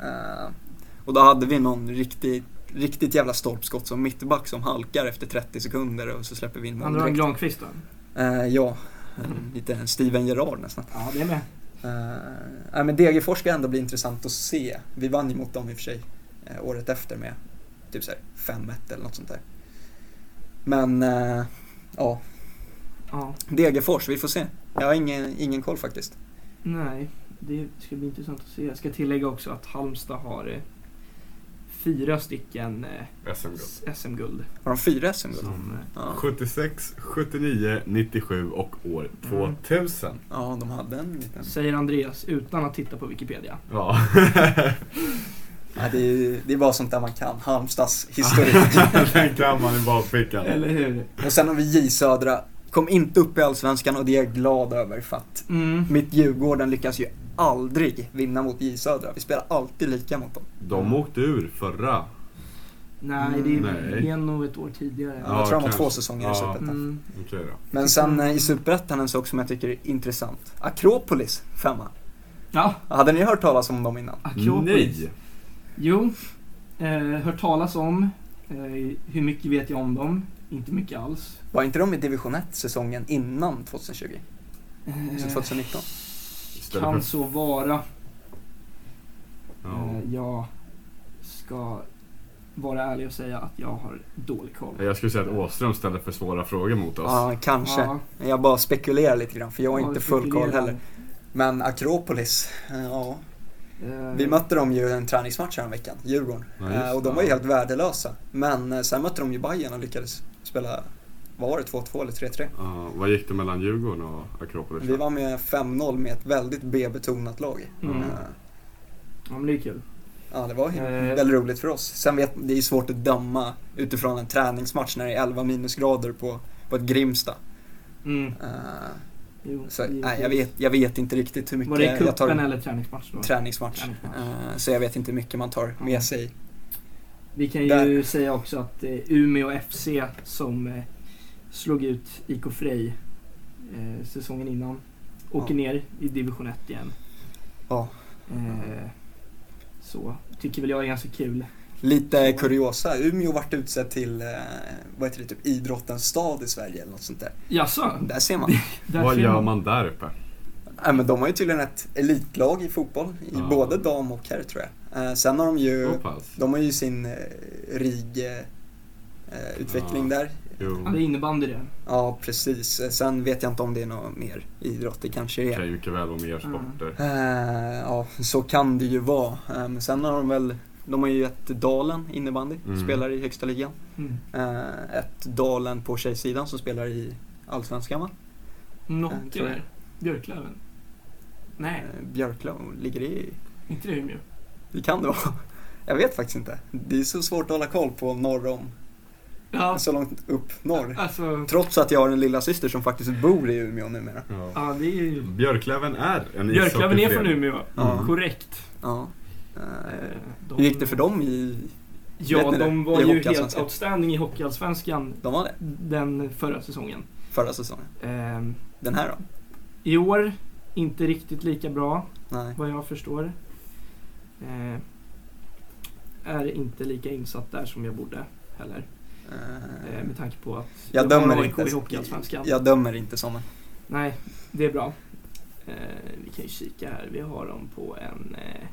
[SPEAKER 1] Eh, och då hade vi någon riktigt, riktigt jävla stolpskott som mittback som halkar efter 30 sekunder och så släpper vi in
[SPEAKER 2] Han
[SPEAKER 1] mål
[SPEAKER 2] drar en
[SPEAKER 1] direkt.
[SPEAKER 2] Granqvist då?
[SPEAKER 1] Eh, ja, en-
[SPEAKER 2] Mm.
[SPEAKER 1] lite en Steven Gerrard nästan.
[SPEAKER 2] Ja, det är med.
[SPEAKER 1] Eh, nej, men Degerfors ska ändå bli intressant att se. Vi vann ju mot dem i och för sig eh, året efter med typ så här 5-1 eller något sånt där. Men eh, ja,
[SPEAKER 2] Ja.
[SPEAKER 1] Degerfors, vi får se. Jag har ingen, ingen koll faktiskt.
[SPEAKER 2] Nej, det ska bli intressant att se. Jag ska tillägga också att Halmstad har eh, fyra stycken eh,
[SPEAKER 3] SM-guld.
[SPEAKER 2] SM-guld.
[SPEAKER 1] Har de fyra SM
[SPEAKER 3] Så.
[SPEAKER 1] guld?
[SPEAKER 2] Som, eh,
[SPEAKER 1] Ja.
[SPEAKER 3] 76, 79, 97 och år
[SPEAKER 1] Mm.
[SPEAKER 3] 2000.
[SPEAKER 1] ja, de hade en liten.
[SPEAKER 2] säger Andreas utan att titta på Wikipedia.
[SPEAKER 3] Ja.
[SPEAKER 1] Nej, det, är, det är bara sånt där man kan. Halmstads historik.
[SPEAKER 3] Den kan man i bakfickan.
[SPEAKER 2] Eller hur?
[SPEAKER 1] och sen har vi J Södra. Kom inte upp i Allsvenskan och det är jag glad över för att
[SPEAKER 2] Mm.
[SPEAKER 1] mitt Djurgården lyckas ju aldrig vinna mot J Södra. Vi spelar alltid lika mot dem.
[SPEAKER 3] De åkte ur förra.
[SPEAKER 2] Nej, det är,
[SPEAKER 3] Nej.
[SPEAKER 2] det är nog ett år tidigare.
[SPEAKER 1] Ja, jag tror de har
[SPEAKER 3] kanske.
[SPEAKER 1] två säsonger
[SPEAKER 3] Ja.
[SPEAKER 1] i Superettan.
[SPEAKER 2] Mm.
[SPEAKER 3] Okej då.
[SPEAKER 1] Men sen eh, i Superettan en sak som jag tycker är intressant. Akropolis, femma.
[SPEAKER 2] Ja,
[SPEAKER 1] Hade ni hört talas om dem innan?
[SPEAKER 2] Akropolis.
[SPEAKER 3] Nej!
[SPEAKER 2] Jo, eh, hört talas om. Eh, hur mycket vet jag om dem? Inte mycket alls.
[SPEAKER 1] Var inte de i division 1 säsongen innan 2020? Så
[SPEAKER 2] Eh,
[SPEAKER 1] 2019?
[SPEAKER 3] Istället för-
[SPEAKER 2] kan så vara.
[SPEAKER 3] Ja.
[SPEAKER 2] Eh, jag ska vara ärlig och säga att jag har dålig koll.
[SPEAKER 3] Jag skulle säga att Åström ställde för svåra frågor mot oss.
[SPEAKER 1] Ja, kanske.
[SPEAKER 2] Ja,
[SPEAKER 1] Jag bara spekulerar lite grann för jag har inte full koll
[SPEAKER 2] spekulerar.
[SPEAKER 1] heller. Men Akropolis, eh, ja.
[SPEAKER 2] Eh,
[SPEAKER 1] Vi mötte dem ju i en träningsmatch veckan, Djurgården.
[SPEAKER 3] Ja, just
[SPEAKER 1] Eh, och
[SPEAKER 3] det.
[SPEAKER 1] de var ju helt värdelösa. Men eh, sen mötte de ju Bayern och lyckades spela, vad var det, 2-2 eller 3-3?
[SPEAKER 3] Ja, vad gick det mellan Djurgården och Akropolis?
[SPEAKER 1] Vi var med 5-0 med ett väldigt B-betonat lag.
[SPEAKER 2] Mm.
[SPEAKER 1] Eh,
[SPEAKER 2] Ja, men det är kul.
[SPEAKER 1] Ja, det var ju
[SPEAKER 2] Eh.
[SPEAKER 1] väldigt roligt för oss. Sen vet det är svårt att döma utifrån en träningsmatch när det är 11 minusgrader på, på ett Grimsta.
[SPEAKER 2] Mm.
[SPEAKER 1] Eh,
[SPEAKER 2] Jo,
[SPEAKER 1] så,
[SPEAKER 2] givetvis.
[SPEAKER 1] nej, jag, vet, jag vet inte riktigt hur mycket
[SPEAKER 2] Var det
[SPEAKER 1] jag
[SPEAKER 2] cupen
[SPEAKER 1] tar
[SPEAKER 2] eller träningsmatch då?
[SPEAKER 1] träningsmatch.
[SPEAKER 2] Träningsmatch.
[SPEAKER 1] Eh, så jag vet inte hur mycket man tar
[SPEAKER 2] Mm.
[SPEAKER 1] med sig.
[SPEAKER 2] Vi kan ju
[SPEAKER 1] Där.
[SPEAKER 2] säga också att eh, Umeå FC som eh, slog ut IK Frej eh, säsongen innan åker
[SPEAKER 1] Ja.
[SPEAKER 2] ner i division 1 igen.
[SPEAKER 1] Ja.
[SPEAKER 2] Eh, så tycker väl jag är ganska kul.
[SPEAKER 1] Lite kuriosa, Umeå vart utsedd till eh, vad heter det, typ idrottens stad i Sverige eller något sånt där.
[SPEAKER 2] Jaså?
[SPEAKER 1] Där ser man.
[SPEAKER 2] Där
[SPEAKER 3] Vad
[SPEAKER 2] ser
[SPEAKER 3] gör man där uppe?
[SPEAKER 1] Ja, men de har ju tydligen ett elitlag i fotboll, i
[SPEAKER 3] Ja.
[SPEAKER 1] både dam och herr tror jag. Eh, sen har de ju,
[SPEAKER 3] Så pass?
[SPEAKER 1] de har ju sin eh, RIG-utveckling
[SPEAKER 3] Ja.
[SPEAKER 1] där.
[SPEAKER 3] Jo,
[SPEAKER 2] Ja, det är innebandy det.
[SPEAKER 1] Ja, precis. Eh, Sen vet jag inte om det är något mer idrott, det kanske
[SPEAKER 3] det
[SPEAKER 1] är.
[SPEAKER 3] kan ju mycket väl vara mer sporter.
[SPEAKER 1] Eh, ja, så kan det ju vara. Eh, men sen har de väl, de har ju ett Dalen innebandy,
[SPEAKER 3] Mm.
[SPEAKER 1] spelar i högsta ligan.
[SPEAKER 2] Mm.
[SPEAKER 1] Eh, ett Dalen på tjejsidan som spelar i Allsvenskan va? Ja,
[SPEAKER 2] Något
[SPEAKER 1] tror jag.
[SPEAKER 2] där. Björklöven? Nej,
[SPEAKER 1] Eh, Björklöv, ligger det i
[SPEAKER 2] inte det Umeå.
[SPEAKER 1] Det kan det vara. Jag vet faktiskt inte. Det är så svårt att hålla koll på norr om,
[SPEAKER 2] Ja,
[SPEAKER 1] så långt upp norr.
[SPEAKER 2] alltså,
[SPEAKER 1] Trots att jag har en lilla syster som faktiskt bor i Umeå numera.
[SPEAKER 3] Ja.
[SPEAKER 2] ja, det är ju...
[SPEAKER 3] Björklöven är en
[SPEAKER 2] Björklöven är från
[SPEAKER 3] ishockeyförening.
[SPEAKER 2] Umeå.
[SPEAKER 1] Ja.
[SPEAKER 2] Korrekt.
[SPEAKER 1] Ja.
[SPEAKER 2] Eh,
[SPEAKER 1] Eh,
[SPEAKER 2] de-
[SPEAKER 1] Hur gick det för dem i...
[SPEAKER 2] Ja,
[SPEAKER 1] Vet ni
[SPEAKER 2] de
[SPEAKER 1] det? I
[SPEAKER 2] var ju helt
[SPEAKER 1] Hockeyallsvenskan.
[SPEAKER 2] outstanding i Hockeyallsvenskan
[SPEAKER 1] De var det
[SPEAKER 2] den förra säsongen.
[SPEAKER 1] förra säsongen.
[SPEAKER 2] Ehm,
[SPEAKER 1] Den här då?
[SPEAKER 2] I år, inte riktigt lika bra
[SPEAKER 1] Nej.
[SPEAKER 2] vad jag förstår. Eh, är inte lika insatt där som jag borde heller. Eh,
[SPEAKER 1] Eh,
[SPEAKER 2] med tanke på att
[SPEAKER 1] Jag
[SPEAKER 2] det var
[SPEAKER 1] dömer
[SPEAKER 2] AIK
[SPEAKER 1] inte.
[SPEAKER 2] i Hockeyallsvenskan.
[SPEAKER 1] Jag dömer inte sommaren.
[SPEAKER 2] Nej, det är bra. Eh, vi kan ju kika här. Vi har dem på en, eh,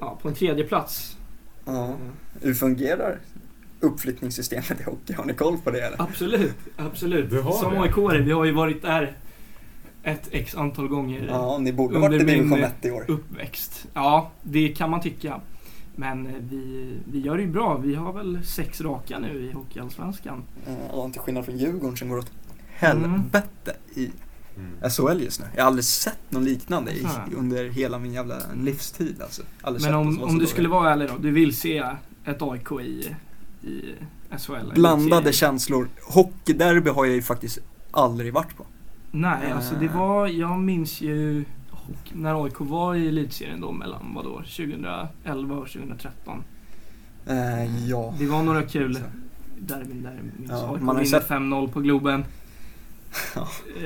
[SPEAKER 2] ja, på en tredje plats.
[SPEAKER 1] Ja.
[SPEAKER 2] Eh,
[SPEAKER 1] Hur fungerar uppflyttningssystemet i hockey? Har ni koll på det eller?
[SPEAKER 2] absolut, absolut.
[SPEAKER 3] Du har
[SPEAKER 2] Som
[SPEAKER 3] det.
[SPEAKER 2] aik vi har ju varit där ett x antal gånger
[SPEAKER 1] Ja, ni borde
[SPEAKER 2] Under
[SPEAKER 1] varit i division
[SPEAKER 2] min-
[SPEAKER 1] 1 i år.
[SPEAKER 2] uppväxt. Ja, det kan man tycka. Men eh, vi, vi gör det ju bra. Vi har väl sex raka nu i Hockeyallsvenskan.
[SPEAKER 1] Eh, Ja, till skillnad från Djurgården som går
[SPEAKER 2] Mm.
[SPEAKER 1] åt helvete i
[SPEAKER 3] Mm.
[SPEAKER 1] SHL just nu. Jag har aldrig sett någon liknande i,
[SPEAKER 2] Aha.
[SPEAKER 1] under hela min jävla livstid alltså. Aldrig sett
[SPEAKER 2] Men
[SPEAKER 1] någon
[SPEAKER 2] om,
[SPEAKER 1] som var
[SPEAKER 2] om
[SPEAKER 1] så
[SPEAKER 2] du
[SPEAKER 1] dålig.
[SPEAKER 2] skulle vara ärlig då. Du vill se ett AIK i, i SHL?
[SPEAKER 1] Blandade
[SPEAKER 2] Ser-
[SPEAKER 1] känslor. Hockeyderby har jag ju faktiskt aldrig varit på.
[SPEAKER 2] Nej,
[SPEAKER 1] Eh.
[SPEAKER 2] alltså det var, jag minns ju och när AIK var i elitserien då mellan vadå, 2011 och 2013.
[SPEAKER 1] Eh, ja.
[SPEAKER 2] Det var några kul derbyn där minns
[SPEAKER 1] Ja,
[SPEAKER 2] AIK
[SPEAKER 1] man har ju
[SPEAKER 2] vinner
[SPEAKER 1] sett-
[SPEAKER 2] 5-0 på Globen.
[SPEAKER 1] Ja.
[SPEAKER 2] Eh,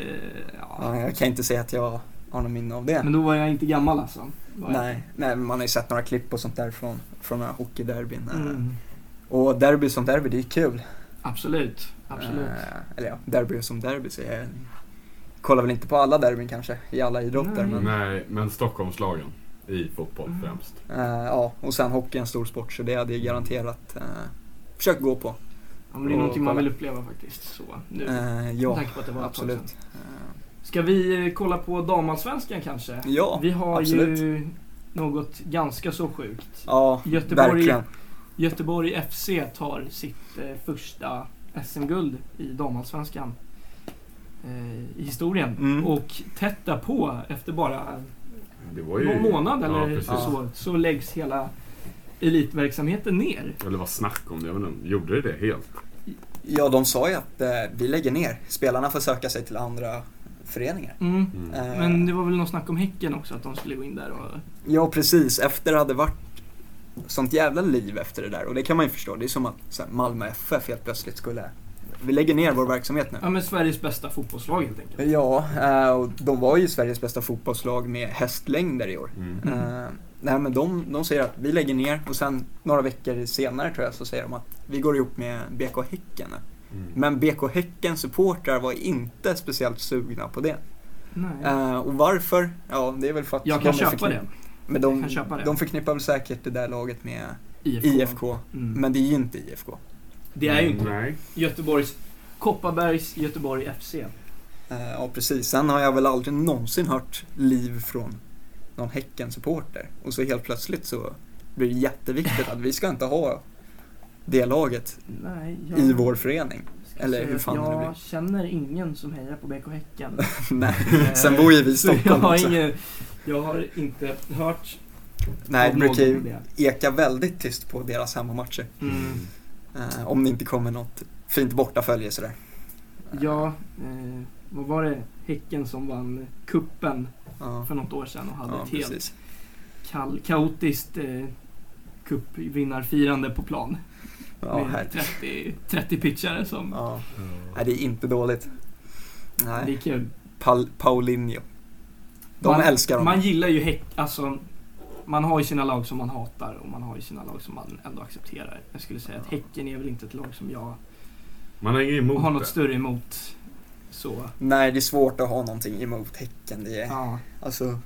[SPEAKER 2] ja.
[SPEAKER 1] ja. Jag kan inte säga att jag har någon minne av det.
[SPEAKER 2] Men då var jag inte gammal alltså. Var jag
[SPEAKER 1] Nej, nej, men man har ju sett några klipp och sånt där från, från några hockeyderbyn.
[SPEAKER 2] inte.
[SPEAKER 1] eh.
[SPEAKER 2] Mm.
[SPEAKER 1] Och derby som derby, det är kul.
[SPEAKER 2] Absolut, absolut.
[SPEAKER 1] Eh, eller ja, derby som derby så jag kollar väl inte på alla derbyn kanske, i alla idrotter.
[SPEAKER 2] Nej.
[SPEAKER 1] Men,
[SPEAKER 3] Mm. Nej, men Stockholmslagen i fotboll
[SPEAKER 2] Mm.
[SPEAKER 3] främst.
[SPEAKER 1] Eh, ja, och sen hockey är en stor sport så det hade jag garanterat eh, försökt gå på.
[SPEAKER 2] Ja, men det är
[SPEAKER 1] och
[SPEAKER 2] någonting man
[SPEAKER 1] kolla.
[SPEAKER 2] vill uppleva faktiskt. Så, nu.
[SPEAKER 1] Eh,
[SPEAKER 2] Med
[SPEAKER 1] ja,
[SPEAKER 2] tanke på att det var ett tag sedan.
[SPEAKER 1] absolut.
[SPEAKER 2] Ska vi eh, kolla på damallsvenskan kanske?
[SPEAKER 1] Eh, ja,
[SPEAKER 2] Vi har ju
[SPEAKER 1] absolut.
[SPEAKER 2] något ganska så sjukt.
[SPEAKER 1] ja
[SPEAKER 2] Göteborg-
[SPEAKER 1] verkligen.
[SPEAKER 2] Göteborg FC tar sitt eh, första SM-guld i damallsvenskan eh, i historien.
[SPEAKER 1] Mm.
[SPEAKER 2] Och tätt därpå, efter bara
[SPEAKER 3] Det var ju...
[SPEAKER 2] någon månad eller
[SPEAKER 3] Ja, precis.
[SPEAKER 2] så, så läggs hela elitverksamheten ner.
[SPEAKER 3] Eller vad snack om det, jag vet inte, gjorde det det helt?
[SPEAKER 1] Ja, de sa ju att eh, vi lägger ner. Spelarna får söka sig till andra föreningar.
[SPEAKER 2] Mm.
[SPEAKER 3] Mm.
[SPEAKER 1] Eh,
[SPEAKER 2] Men det var väl något snack om Häcken också, att de skulle gå in där och...
[SPEAKER 1] Ja, precis. Efter det hade varit sånt jävla liv efter det där och det kan man ju förstå. Det är som att så här, Malmö FF helt plötsligt skulle... Vi lägger ner vår verksamhet nu.
[SPEAKER 2] Ja men Sveriges bästa fotbollslag helt enkelt.
[SPEAKER 1] Ja, eh, och de var ju Sveriges bästa fotbollslag med hästlängder i år.
[SPEAKER 3] Mm.
[SPEAKER 2] Mm.
[SPEAKER 1] Eh, nej, men de, de säger att vi lägger ner och sen några veckor senare tror jag så säger de att vi går ihop med BK Häcken. nu.
[SPEAKER 3] Mm.
[SPEAKER 1] Men BK Häckens supportrar var inte speciellt sugna på det.
[SPEAKER 2] Nej.
[SPEAKER 1] Eh, och varför? Ja, det är väl för att
[SPEAKER 2] Jag kan
[SPEAKER 1] de
[SPEAKER 2] köpa
[SPEAKER 1] förknipp-
[SPEAKER 2] det.
[SPEAKER 1] Men de,
[SPEAKER 2] Jag kan köpa det.
[SPEAKER 1] de förknippar väl säkert det där laget med
[SPEAKER 2] IFK.
[SPEAKER 1] IFK,
[SPEAKER 2] Mm.
[SPEAKER 1] men det är ju inte IFK.
[SPEAKER 2] Det är ju inte
[SPEAKER 3] Nej.
[SPEAKER 2] Göteborgs... Kopparbergs Göteborg FC.
[SPEAKER 1] Eh, ja, precis. Sen har jag väl aldrig någonsin hört liv från någon Häcken-supporter. Och så helt plötsligt så blir det jätteviktigt att vi ska inte ha det laget
[SPEAKER 2] Nej, jag...
[SPEAKER 1] i vår förening.
[SPEAKER 2] Ska
[SPEAKER 1] Eller
[SPEAKER 2] säga
[SPEAKER 1] hur
[SPEAKER 2] att
[SPEAKER 1] fan det
[SPEAKER 2] jag
[SPEAKER 1] nu blir.
[SPEAKER 2] känner ingen som hejar på BK Häcken.
[SPEAKER 1] Nej,
[SPEAKER 2] Eh,
[SPEAKER 1] sen bor ju vi i
[SPEAKER 2] så jag
[SPEAKER 1] Stockholm
[SPEAKER 2] har,
[SPEAKER 1] också.
[SPEAKER 2] ingen, jag har inte hört
[SPEAKER 1] Nej,
[SPEAKER 2] av
[SPEAKER 1] det brukar
[SPEAKER 2] någon om
[SPEAKER 1] ju
[SPEAKER 2] det.
[SPEAKER 1] eka väldigt tyst på deras hemmamatcher.
[SPEAKER 2] Mm.
[SPEAKER 1] Eh, om det inte kommer något fint bortafölje sådär.
[SPEAKER 2] Ja, eh, vad var det? Häcken som vann kuppen
[SPEAKER 1] Eh, Ja,
[SPEAKER 2] för något år sedan och hade
[SPEAKER 1] ja
[SPEAKER 2] ett helt
[SPEAKER 1] precis.
[SPEAKER 2] kall, kaotiskt eh, cupvinnarfirande på plan.
[SPEAKER 1] Ja,
[SPEAKER 2] med
[SPEAKER 1] här.
[SPEAKER 2] 30, 30 pitchare som...
[SPEAKER 1] Ja. Nej, det är inte dåligt.
[SPEAKER 2] Det är
[SPEAKER 1] Nej,
[SPEAKER 2] kul.
[SPEAKER 1] Pal- Paulinho. De
[SPEAKER 2] Man-
[SPEAKER 1] älskar honom.
[SPEAKER 2] Man gillar ju häck, alltså man har ju sina lag som man hatar och man har ju sina lag som man ändå accepterar. Jag skulle säga att Häcken är väl inte ett lag som jag
[SPEAKER 3] Man hänger emot
[SPEAKER 2] har
[SPEAKER 3] det.
[SPEAKER 2] något större emot. Så,
[SPEAKER 1] Nej, det är svårt att ha någonting emot Häcken. Det är,
[SPEAKER 2] ja,
[SPEAKER 1] alltså, det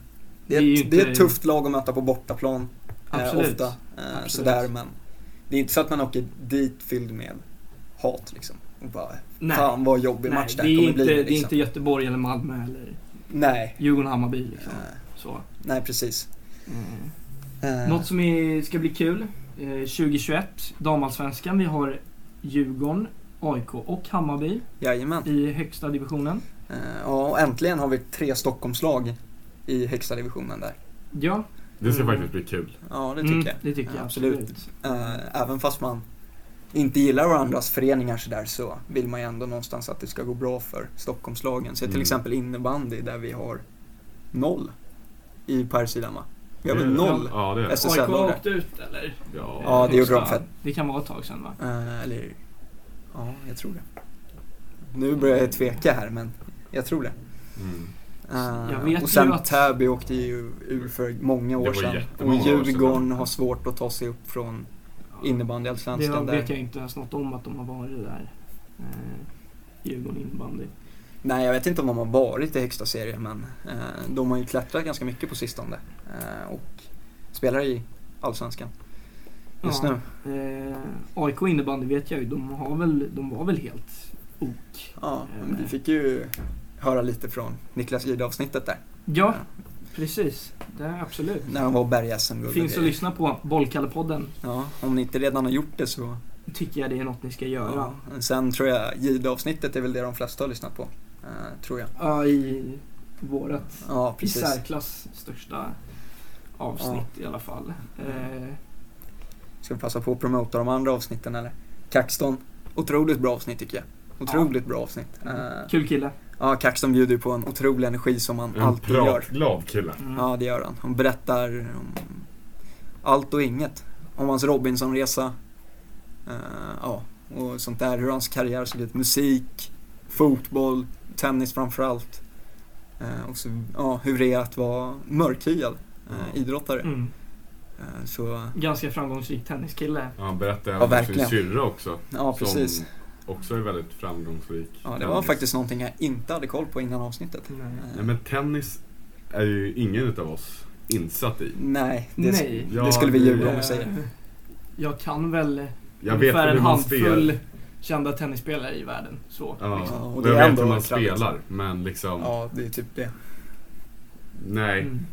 [SPEAKER 2] Det är
[SPEAKER 1] är,
[SPEAKER 2] ju
[SPEAKER 1] ett, det är
[SPEAKER 2] inte-
[SPEAKER 1] ett tufft lag att möta på bortaplan.
[SPEAKER 2] Absolut.
[SPEAKER 1] Eh, ofta. Eh,
[SPEAKER 2] Absolut.
[SPEAKER 1] sådär, men det är inte så att man åker dit fylld med hat liksom. Och bara,
[SPEAKER 2] nej.
[SPEAKER 1] fan vad jobbig
[SPEAKER 2] nej
[SPEAKER 1] match
[SPEAKER 2] det,
[SPEAKER 1] det här
[SPEAKER 2] är
[SPEAKER 1] kommer
[SPEAKER 2] inte,
[SPEAKER 1] bli. Liksom.
[SPEAKER 2] det är inte Göteborg eller Malmö eller
[SPEAKER 1] Nej,
[SPEAKER 2] Djurgården-Hammarby liksom.
[SPEAKER 1] eh,
[SPEAKER 2] Så.
[SPEAKER 1] nej precis.
[SPEAKER 2] Mm.
[SPEAKER 1] Eh,
[SPEAKER 2] Något som är, ska bli kul. eh, 2021, damallsvenskan. Vi har Djurgården, AIK och Hammarby
[SPEAKER 1] Jajamän.
[SPEAKER 2] i högsta divisionen.
[SPEAKER 1] Eh, Ja, och äntligen har vi tre Stockholmslag i högsta divisionen där.
[SPEAKER 2] Ja,
[SPEAKER 3] Det ska
[SPEAKER 2] Mm.
[SPEAKER 3] faktiskt bli kul.
[SPEAKER 1] Ja, det tycker
[SPEAKER 2] mm,
[SPEAKER 1] jag.
[SPEAKER 2] det tycker
[SPEAKER 1] Ja,
[SPEAKER 2] jag
[SPEAKER 1] absolut.
[SPEAKER 2] absolut.
[SPEAKER 1] Eh, Även fast man inte gillar varandras föreningar sådär så vill man ju ändå någonstans att det ska gå bra för Stockholmslagen. Så till
[SPEAKER 3] Mm.
[SPEAKER 1] exempel innebandy där vi har noll i per sidama. Vi har
[SPEAKER 3] Det är
[SPEAKER 2] Mm.
[SPEAKER 1] väl
[SPEAKER 3] det.
[SPEAKER 1] noll
[SPEAKER 3] Eh, Ja, det är det.
[SPEAKER 1] SSL
[SPEAKER 2] AIK
[SPEAKER 1] där.
[SPEAKER 2] åkte ut eller?
[SPEAKER 1] Ja, det gjorde de
[SPEAKER 2] Högsta-
[SPEAKER 1] fett.
[SPEAKER 2] Det kan vara ett tag sedan va?
[SPEAKER 1] Eh, Eller, ja, jag tror det. Nu börjar jag tveka här men jag tror det.
[SPEAKER 3] Mm.
[SPEAKER 1] Eh,
[SPEAKER 2] Jag vet
[SPEAKER 1] och sen
[SPEAKER 2] ju att-
[SPEAKER 1] Täby åkte ju ur för många
[SPEAKER 3] Det
[SPEAKER 1] år
[SPEAKER 3] var
[SPEAKER 1] sedan. Och
[SPEAKER 3] jättemånga år sedan.
[SPEAKER 1] Djurgården har svårt att ta sig upp från
[SPEAKER 2] Det
[SPEAKER 1] innebandyallsvenskan
[SPEAKER 2] vet
[SPEAKER 1] där.
[SPEAKER 2] jag inte ens något om att de har varit där. Eh, Djurgården innebandy.
[SPEAKER 1] Nej, jag vet inte om de har varit i högsta serien men eh, de har ju klättrat ganska mycket på sistone. Eh, och spelar i Allsvenskan just
[SPEAKER 2] Ja,
[SPEAKER 1] nu.
[SPEAKER 2] Eh, AIK innebandy vet jag ju, de, har väl, de var väl helt ok.
[SPEAKER 1] Ja, men vi fick ju höra lite från Niklas Jihde-avsnittet där. Eh,
[SPEAKER 2] Ja, precis. Det är absolut.
[SPEAKER 1] När de var och bergade sm
[SPEAKER 2] Finns att lyssna på. Bollkallepodden
[SPEAKER 1] Ja, om ni inte redan har gjort det så.
[SPEAKER 2] tycker jag det är något ni ska göra.
[SPEAKER 1] Ja. Sen tror jag Jihde-avsnittet är väl det de flesta har lyssnat på. Eh, tror jag.
[SPEAKER 2] Ja, i vårat
[SPEAKER 1] Ja,
[SPEAKER 2] i
[SPEAKER 1] precis.
[SPEAKER 2] särklass största avsnitt i alla fall. Eh,
[SPEAKER 1] Ska vi passa på att promota de andra avsnitten eller? Kaxton, otroligt bra avsnitt tycker jag. Otroligt bra avsnitt. Eh,
[SPEAKER 2] kul kille.
[SPEAKER 1] Ja, Kaxton bjuder på en otrolig energi som han
[SPEAKER 3] En
[SPEAKER 1] alltid gör.
[SPEAKER 3] pratglad kille.
[SPEAKER 2] Mm.
[SPEAKER 1] Ja, det gör han. Han berättar om allt och inget. Om hans Robinsonresa, eh, ja, och sånt där. Hur hans karriär såg ut. Musik, fotboll, tennis framförallt. Eh, och så, ja, hur det är att vara mörkhyad eh, idrottare.
[SPEAKER 2] Mm.
[SPEAKER 1] Eh, så,
[SPEAKER 2] Ganska framgångsrik tenniskille.
[SPEAKER 3] Han
[SPEAKER 1] Ja,
[SPEAKER 3] berättade även om sin
[SPEAKER 1] verkligen.
[SPEAKER 3] syrra också.
[SPEAKER 1] ja precis.
[SPEAKER 3] Som också är väldigt framgångsrik.
[SPEAKER 1] Ja, det var faktiskt någonting jag inte hade koll på innan avsnittet.
[SPEAKER 2] Nej.
[SPEAKER 1] Eh,
[SPEAKER 3] Nej men tennis är ju ingen utav oss insatt i.
[SPEAKER 1] Eh, Nej, det,
[SPEAKER 2] Nej.
[SPEAKER 1] det skulle vi
[SPEAKER 3] Ja,
[SPEAKER 1] ljuga om
[SPEAKER 2] Eh,
[SPEAKER 1] vi säger.
[SPEAKER 2] Jag kan väl
[SPEAKER 3] Jag vet
[SPEAKER 2] ungefär
[SPEAKER 3] hur
[SPEAKER 2] en
[SPEAKER 3] man spelar.
[SPEAKER 2] handfull kända tennisspelare i världen. Så,
[SPEAKER 3] Ja,
[SPEAKER 2] liksom.
[SPEAKER 1] och
[SPEAKER 3] och
[SPEAKER 1] det är
[SPEAKER 3] jag vet
[SPEAKER 1] ändå
[SPEAKER 3] hur man
[SPEAKER 1] kraftigt.
[SPEAKER 3] spelar men liksom,
[SPEAKER 1] Ja, det är typ det.
[SPEAKER 3] nej.
[SPEAKER 2] Mm.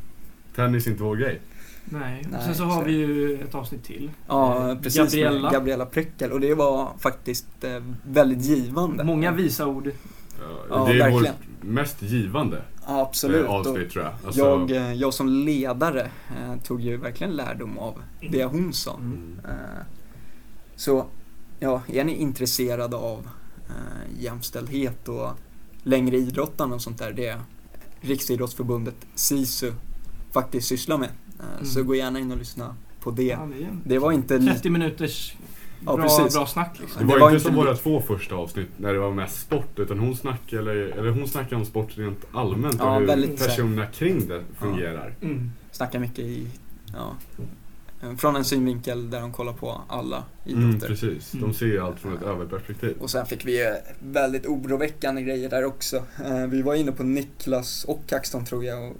[SPEAKER 3] Tennis är inte vår grej.
[SPEAKER 2] Nej. Och
[SPEAKER 1] Nej,
[SPEAKER 2] Sen så har
[SPEAKER 1] så-
[SPEAKER 2] vi ju ett avsnitt till.
[SPEAKER 1] Ja,
[SPEAKER 2] Eh,
[SPEAKER 1] precis.
[SPEAKER 2] Gabriella.
[SPEAKER 1] Gabriella. Gabriella Pryckel. Och det var faktiskt eh, väldigt givande.
[SPEAKER 2] Många visa ord.
[SPEAKER 3] Ja,
[SPEAKER 1] Ja,
[SPEAKER 3] det är vårt
[SPEAKER 1] verkligen.
[SPEAKER 3] mest givande
[SPEAKER 1] Ja, absolut.
[SPEAKER 3] eh,
[SPEAKER 1] Och
[SPEAKER 3] avsnitt tror jag. Alltså,
[SPEAKER 1] jag, eh, jag som ledare eh, tog ju verkligen lärdom av det hon sa.
[SPEAKER 3] mm,
[SPEAKER 1] Eh, så, ja, är ni intresserade av eh, jämställdhet och längre idrottande och sånt där, det Riksidrottsförbundet SISU faktiskt sysslar med. Eh, Så
[SPEAKER 2] Mm.
[SPEAKER 1] gå gärna in och lyssna på det.
[SPEAKER 2] Ja, det är en
[SPEAKER 1] Det var inte... li-
[SPEAKER 2] 30 minuters
[SPEAKER 1] Ja,
[SPEAKER 2] bra,
[SPEAKER 1] precis.
[SPEAKER 2] bra snack liksom.
[SPEAKER 3] Det
[SPEAKER 1] det
[SPEAKER 3] var,
[SPEAKER 1] var
[SPEAKER 3] inte
[SPEAKER 1] inte
[SPEAKER 3] som
[SPEAKER 1] li-
[SPEAKER 3] våra två första avsnitt när det var mest sport utan hon snackade, eller, eller hon snackade om sport rent allmänt
[SPEAKER 1] Ja,
[SPEAKER 3] och hur
[SPEAKER 1] väldigt så här.
[SPEAKER 3] personerna kring det fungerar.
[SPEAKER 2] Mm.
[SPEAKER 1] snackar mycket i, ja, eh, från en synvinkel där de kollar på alla
[SPEAKER 3] Mm,
[SPEAKER 1] idrotter.
[SPEAKER 3] precis,
[SPEAKER 2] Mm.
[SPEAKER 3] de ser ju allt från ett överperspektiv.
[SPEAKER 1] och sen fick vi eh, väldigt oroväckande grejer där också. Eh, Vi var inne på Niklas och Kaxton tror jag och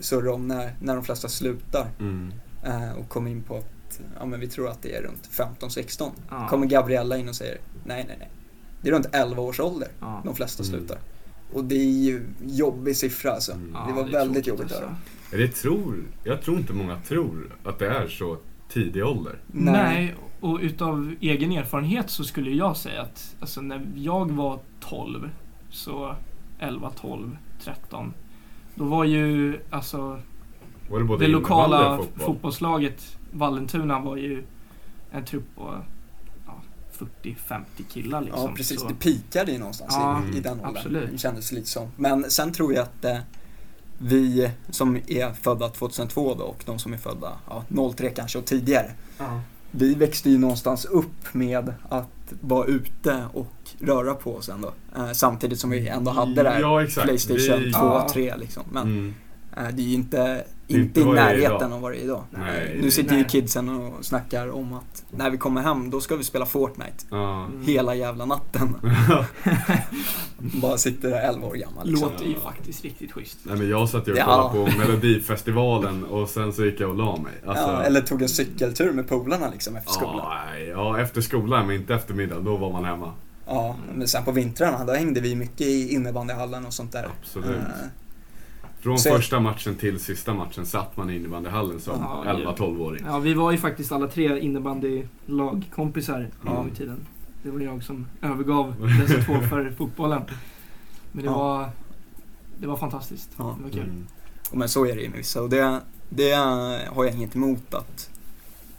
[SPEAKER 1] surrade om när, när de flesta slutar
[SPEAKER 3] Mm.
[SPEAKER 1] eh, och kom in på att ja, men vi tror att det är runt 15-16.
[SPEAKER 2] Ja.
[SPEAKER 1] Kommer Gabriella in och säger nej, nej, nej. Det är runt 11 års ålder
[SPEAKER 2] Ja.
[SPEAKER 1] de flesta
[SPEAKER 3] Mm.
[SPEAKER 1] slutar. Och det är ju jobbig siffra alltså.
[SPEAKER 3] Mm.
[SPEAKER 2] Ja,
[SPEAKER 1] Det var
[SPEAKER 2] är
[SPEAKER 1] väldigt
[SPEAKER 2] tråkigt, alltså.
[SPEAKER 1] jobbigt att höra.
[SPEAKER 3] Det tror, jag tror inte många tror att det är så tidig ålder.
[SPEAKER 2] Nej. och utav egen erfarenhet så skulle jag säga att alltså, när jag var 12, så 11, 12, 13, då var ju alltså
[SPEAKER 3] Var det både
[SPEAKER 2] det lokala
[SPEAKER 3] innebandy och fotboll?
[SPEAKER 2] fotbollslaget Vallentuna var ju en trupp på ja, 40-50 killar liksom.
[SPEAKER 1] ja, precis.
[SPEAKER 2] Så,
[SPEAKER 1] Det pikade ju någonstans
[SPEAKER 2] Ja,
[SPEAKER 1] i, i den åldern.
[SPEAKER 2] absolut.
[SPEAKER 1] Det kändes lite som. Men sen tror jag att eh, vi som är födda 2002 då och de som är födda ja, 03 kanske och tidigare.
[SPEAKER 2] ja.
[SPEAKER 1] Vi växte ju någonstans upp med att vara ute och röra på oss ändå. Eh, samtidigt som vi ändå hade det här
[SPEAKER 3] ja, exakt.
[SPEAKER 1] Playstation
[SPEAKER 3] Vi-
[SPEAKER 1] 2,
[SPEAKER 2] Ja.
[SPEAKER 1] 3 liksom. Men
[SPEAKER 3] Mm.
[SPEAKER 1] Eh, Det är ju inte,
[SPEAKER 3] Det är
[SPEAKER 1] inte
[SPEAKER 3] inte
[SPEAKER 1] i
[SPEAKER 3] vad det är
[SPEAKER 1] närheten
[SPEAKER 3] idag.
[SPEAKER 1] av vad det är idag.
[SPEAKER 3] Nej.
[SPEAKER 1] Nu sitter ju
[SPEAKER 2] Nej.
[SPEAKER 1] kidsen och snackar om att när vi kommer hem då ska vi spela Fortnite.
[SPEAKER 3] Ja.
[SPEAKER 2] Mm.
[SPEAKER 1] Hela jävla natten. Bara sitter där 11 år gammal. Liksom.
[SPEAKER 2] Låter ju faktiskt riktigt schysst.
[SPEAKER 3] Nej men jag satt ju och
[SPEAKER 1] Ja.
[SPEAKER 3] kollade på Melodifestivalen och sen så gick jag och la mig. Alltså,
[SPEAKER 1] Ja, eller tog en cykeltur med polarna liksom efter skolan.
[SPEAKER 3] Ja, nej, ja, efter skolan men inte efter middag. Då var man hemma.
[SPEAKER 1] Ja, men sen på vintrarna då hängde vi mycket i innebandyhallen och sånt där.
[SPEAKER 3] Absolut.
[SPEAKER 1] Eh,
[SPEAKER 3] Från
[SPEAKER 1] Så jag-
[SPEAKER 3] första matchen till sista matchen satt man i innebandyhallen som
[SPEAKER 2] Ja, ja.
[SPEAKER 3] 11-12-åring.
[SPEAKER 2] Ja, vi var ju faktiskt alla tre innebandylagkompisar en gång i tiden. Det var jag som övergav dessa två för fotbollen. Men det,
[SPEAKER 1] Ja.
[SPEAKER 2] var, det var fantastiskt.
[SPEAKER 1] Ja.
[SPEAKER 2] Det var kul.
[SPEAKER 3] Mm.
[SPEAKER 1] Och men så är det ju med vissa och det, det har jag inget emot att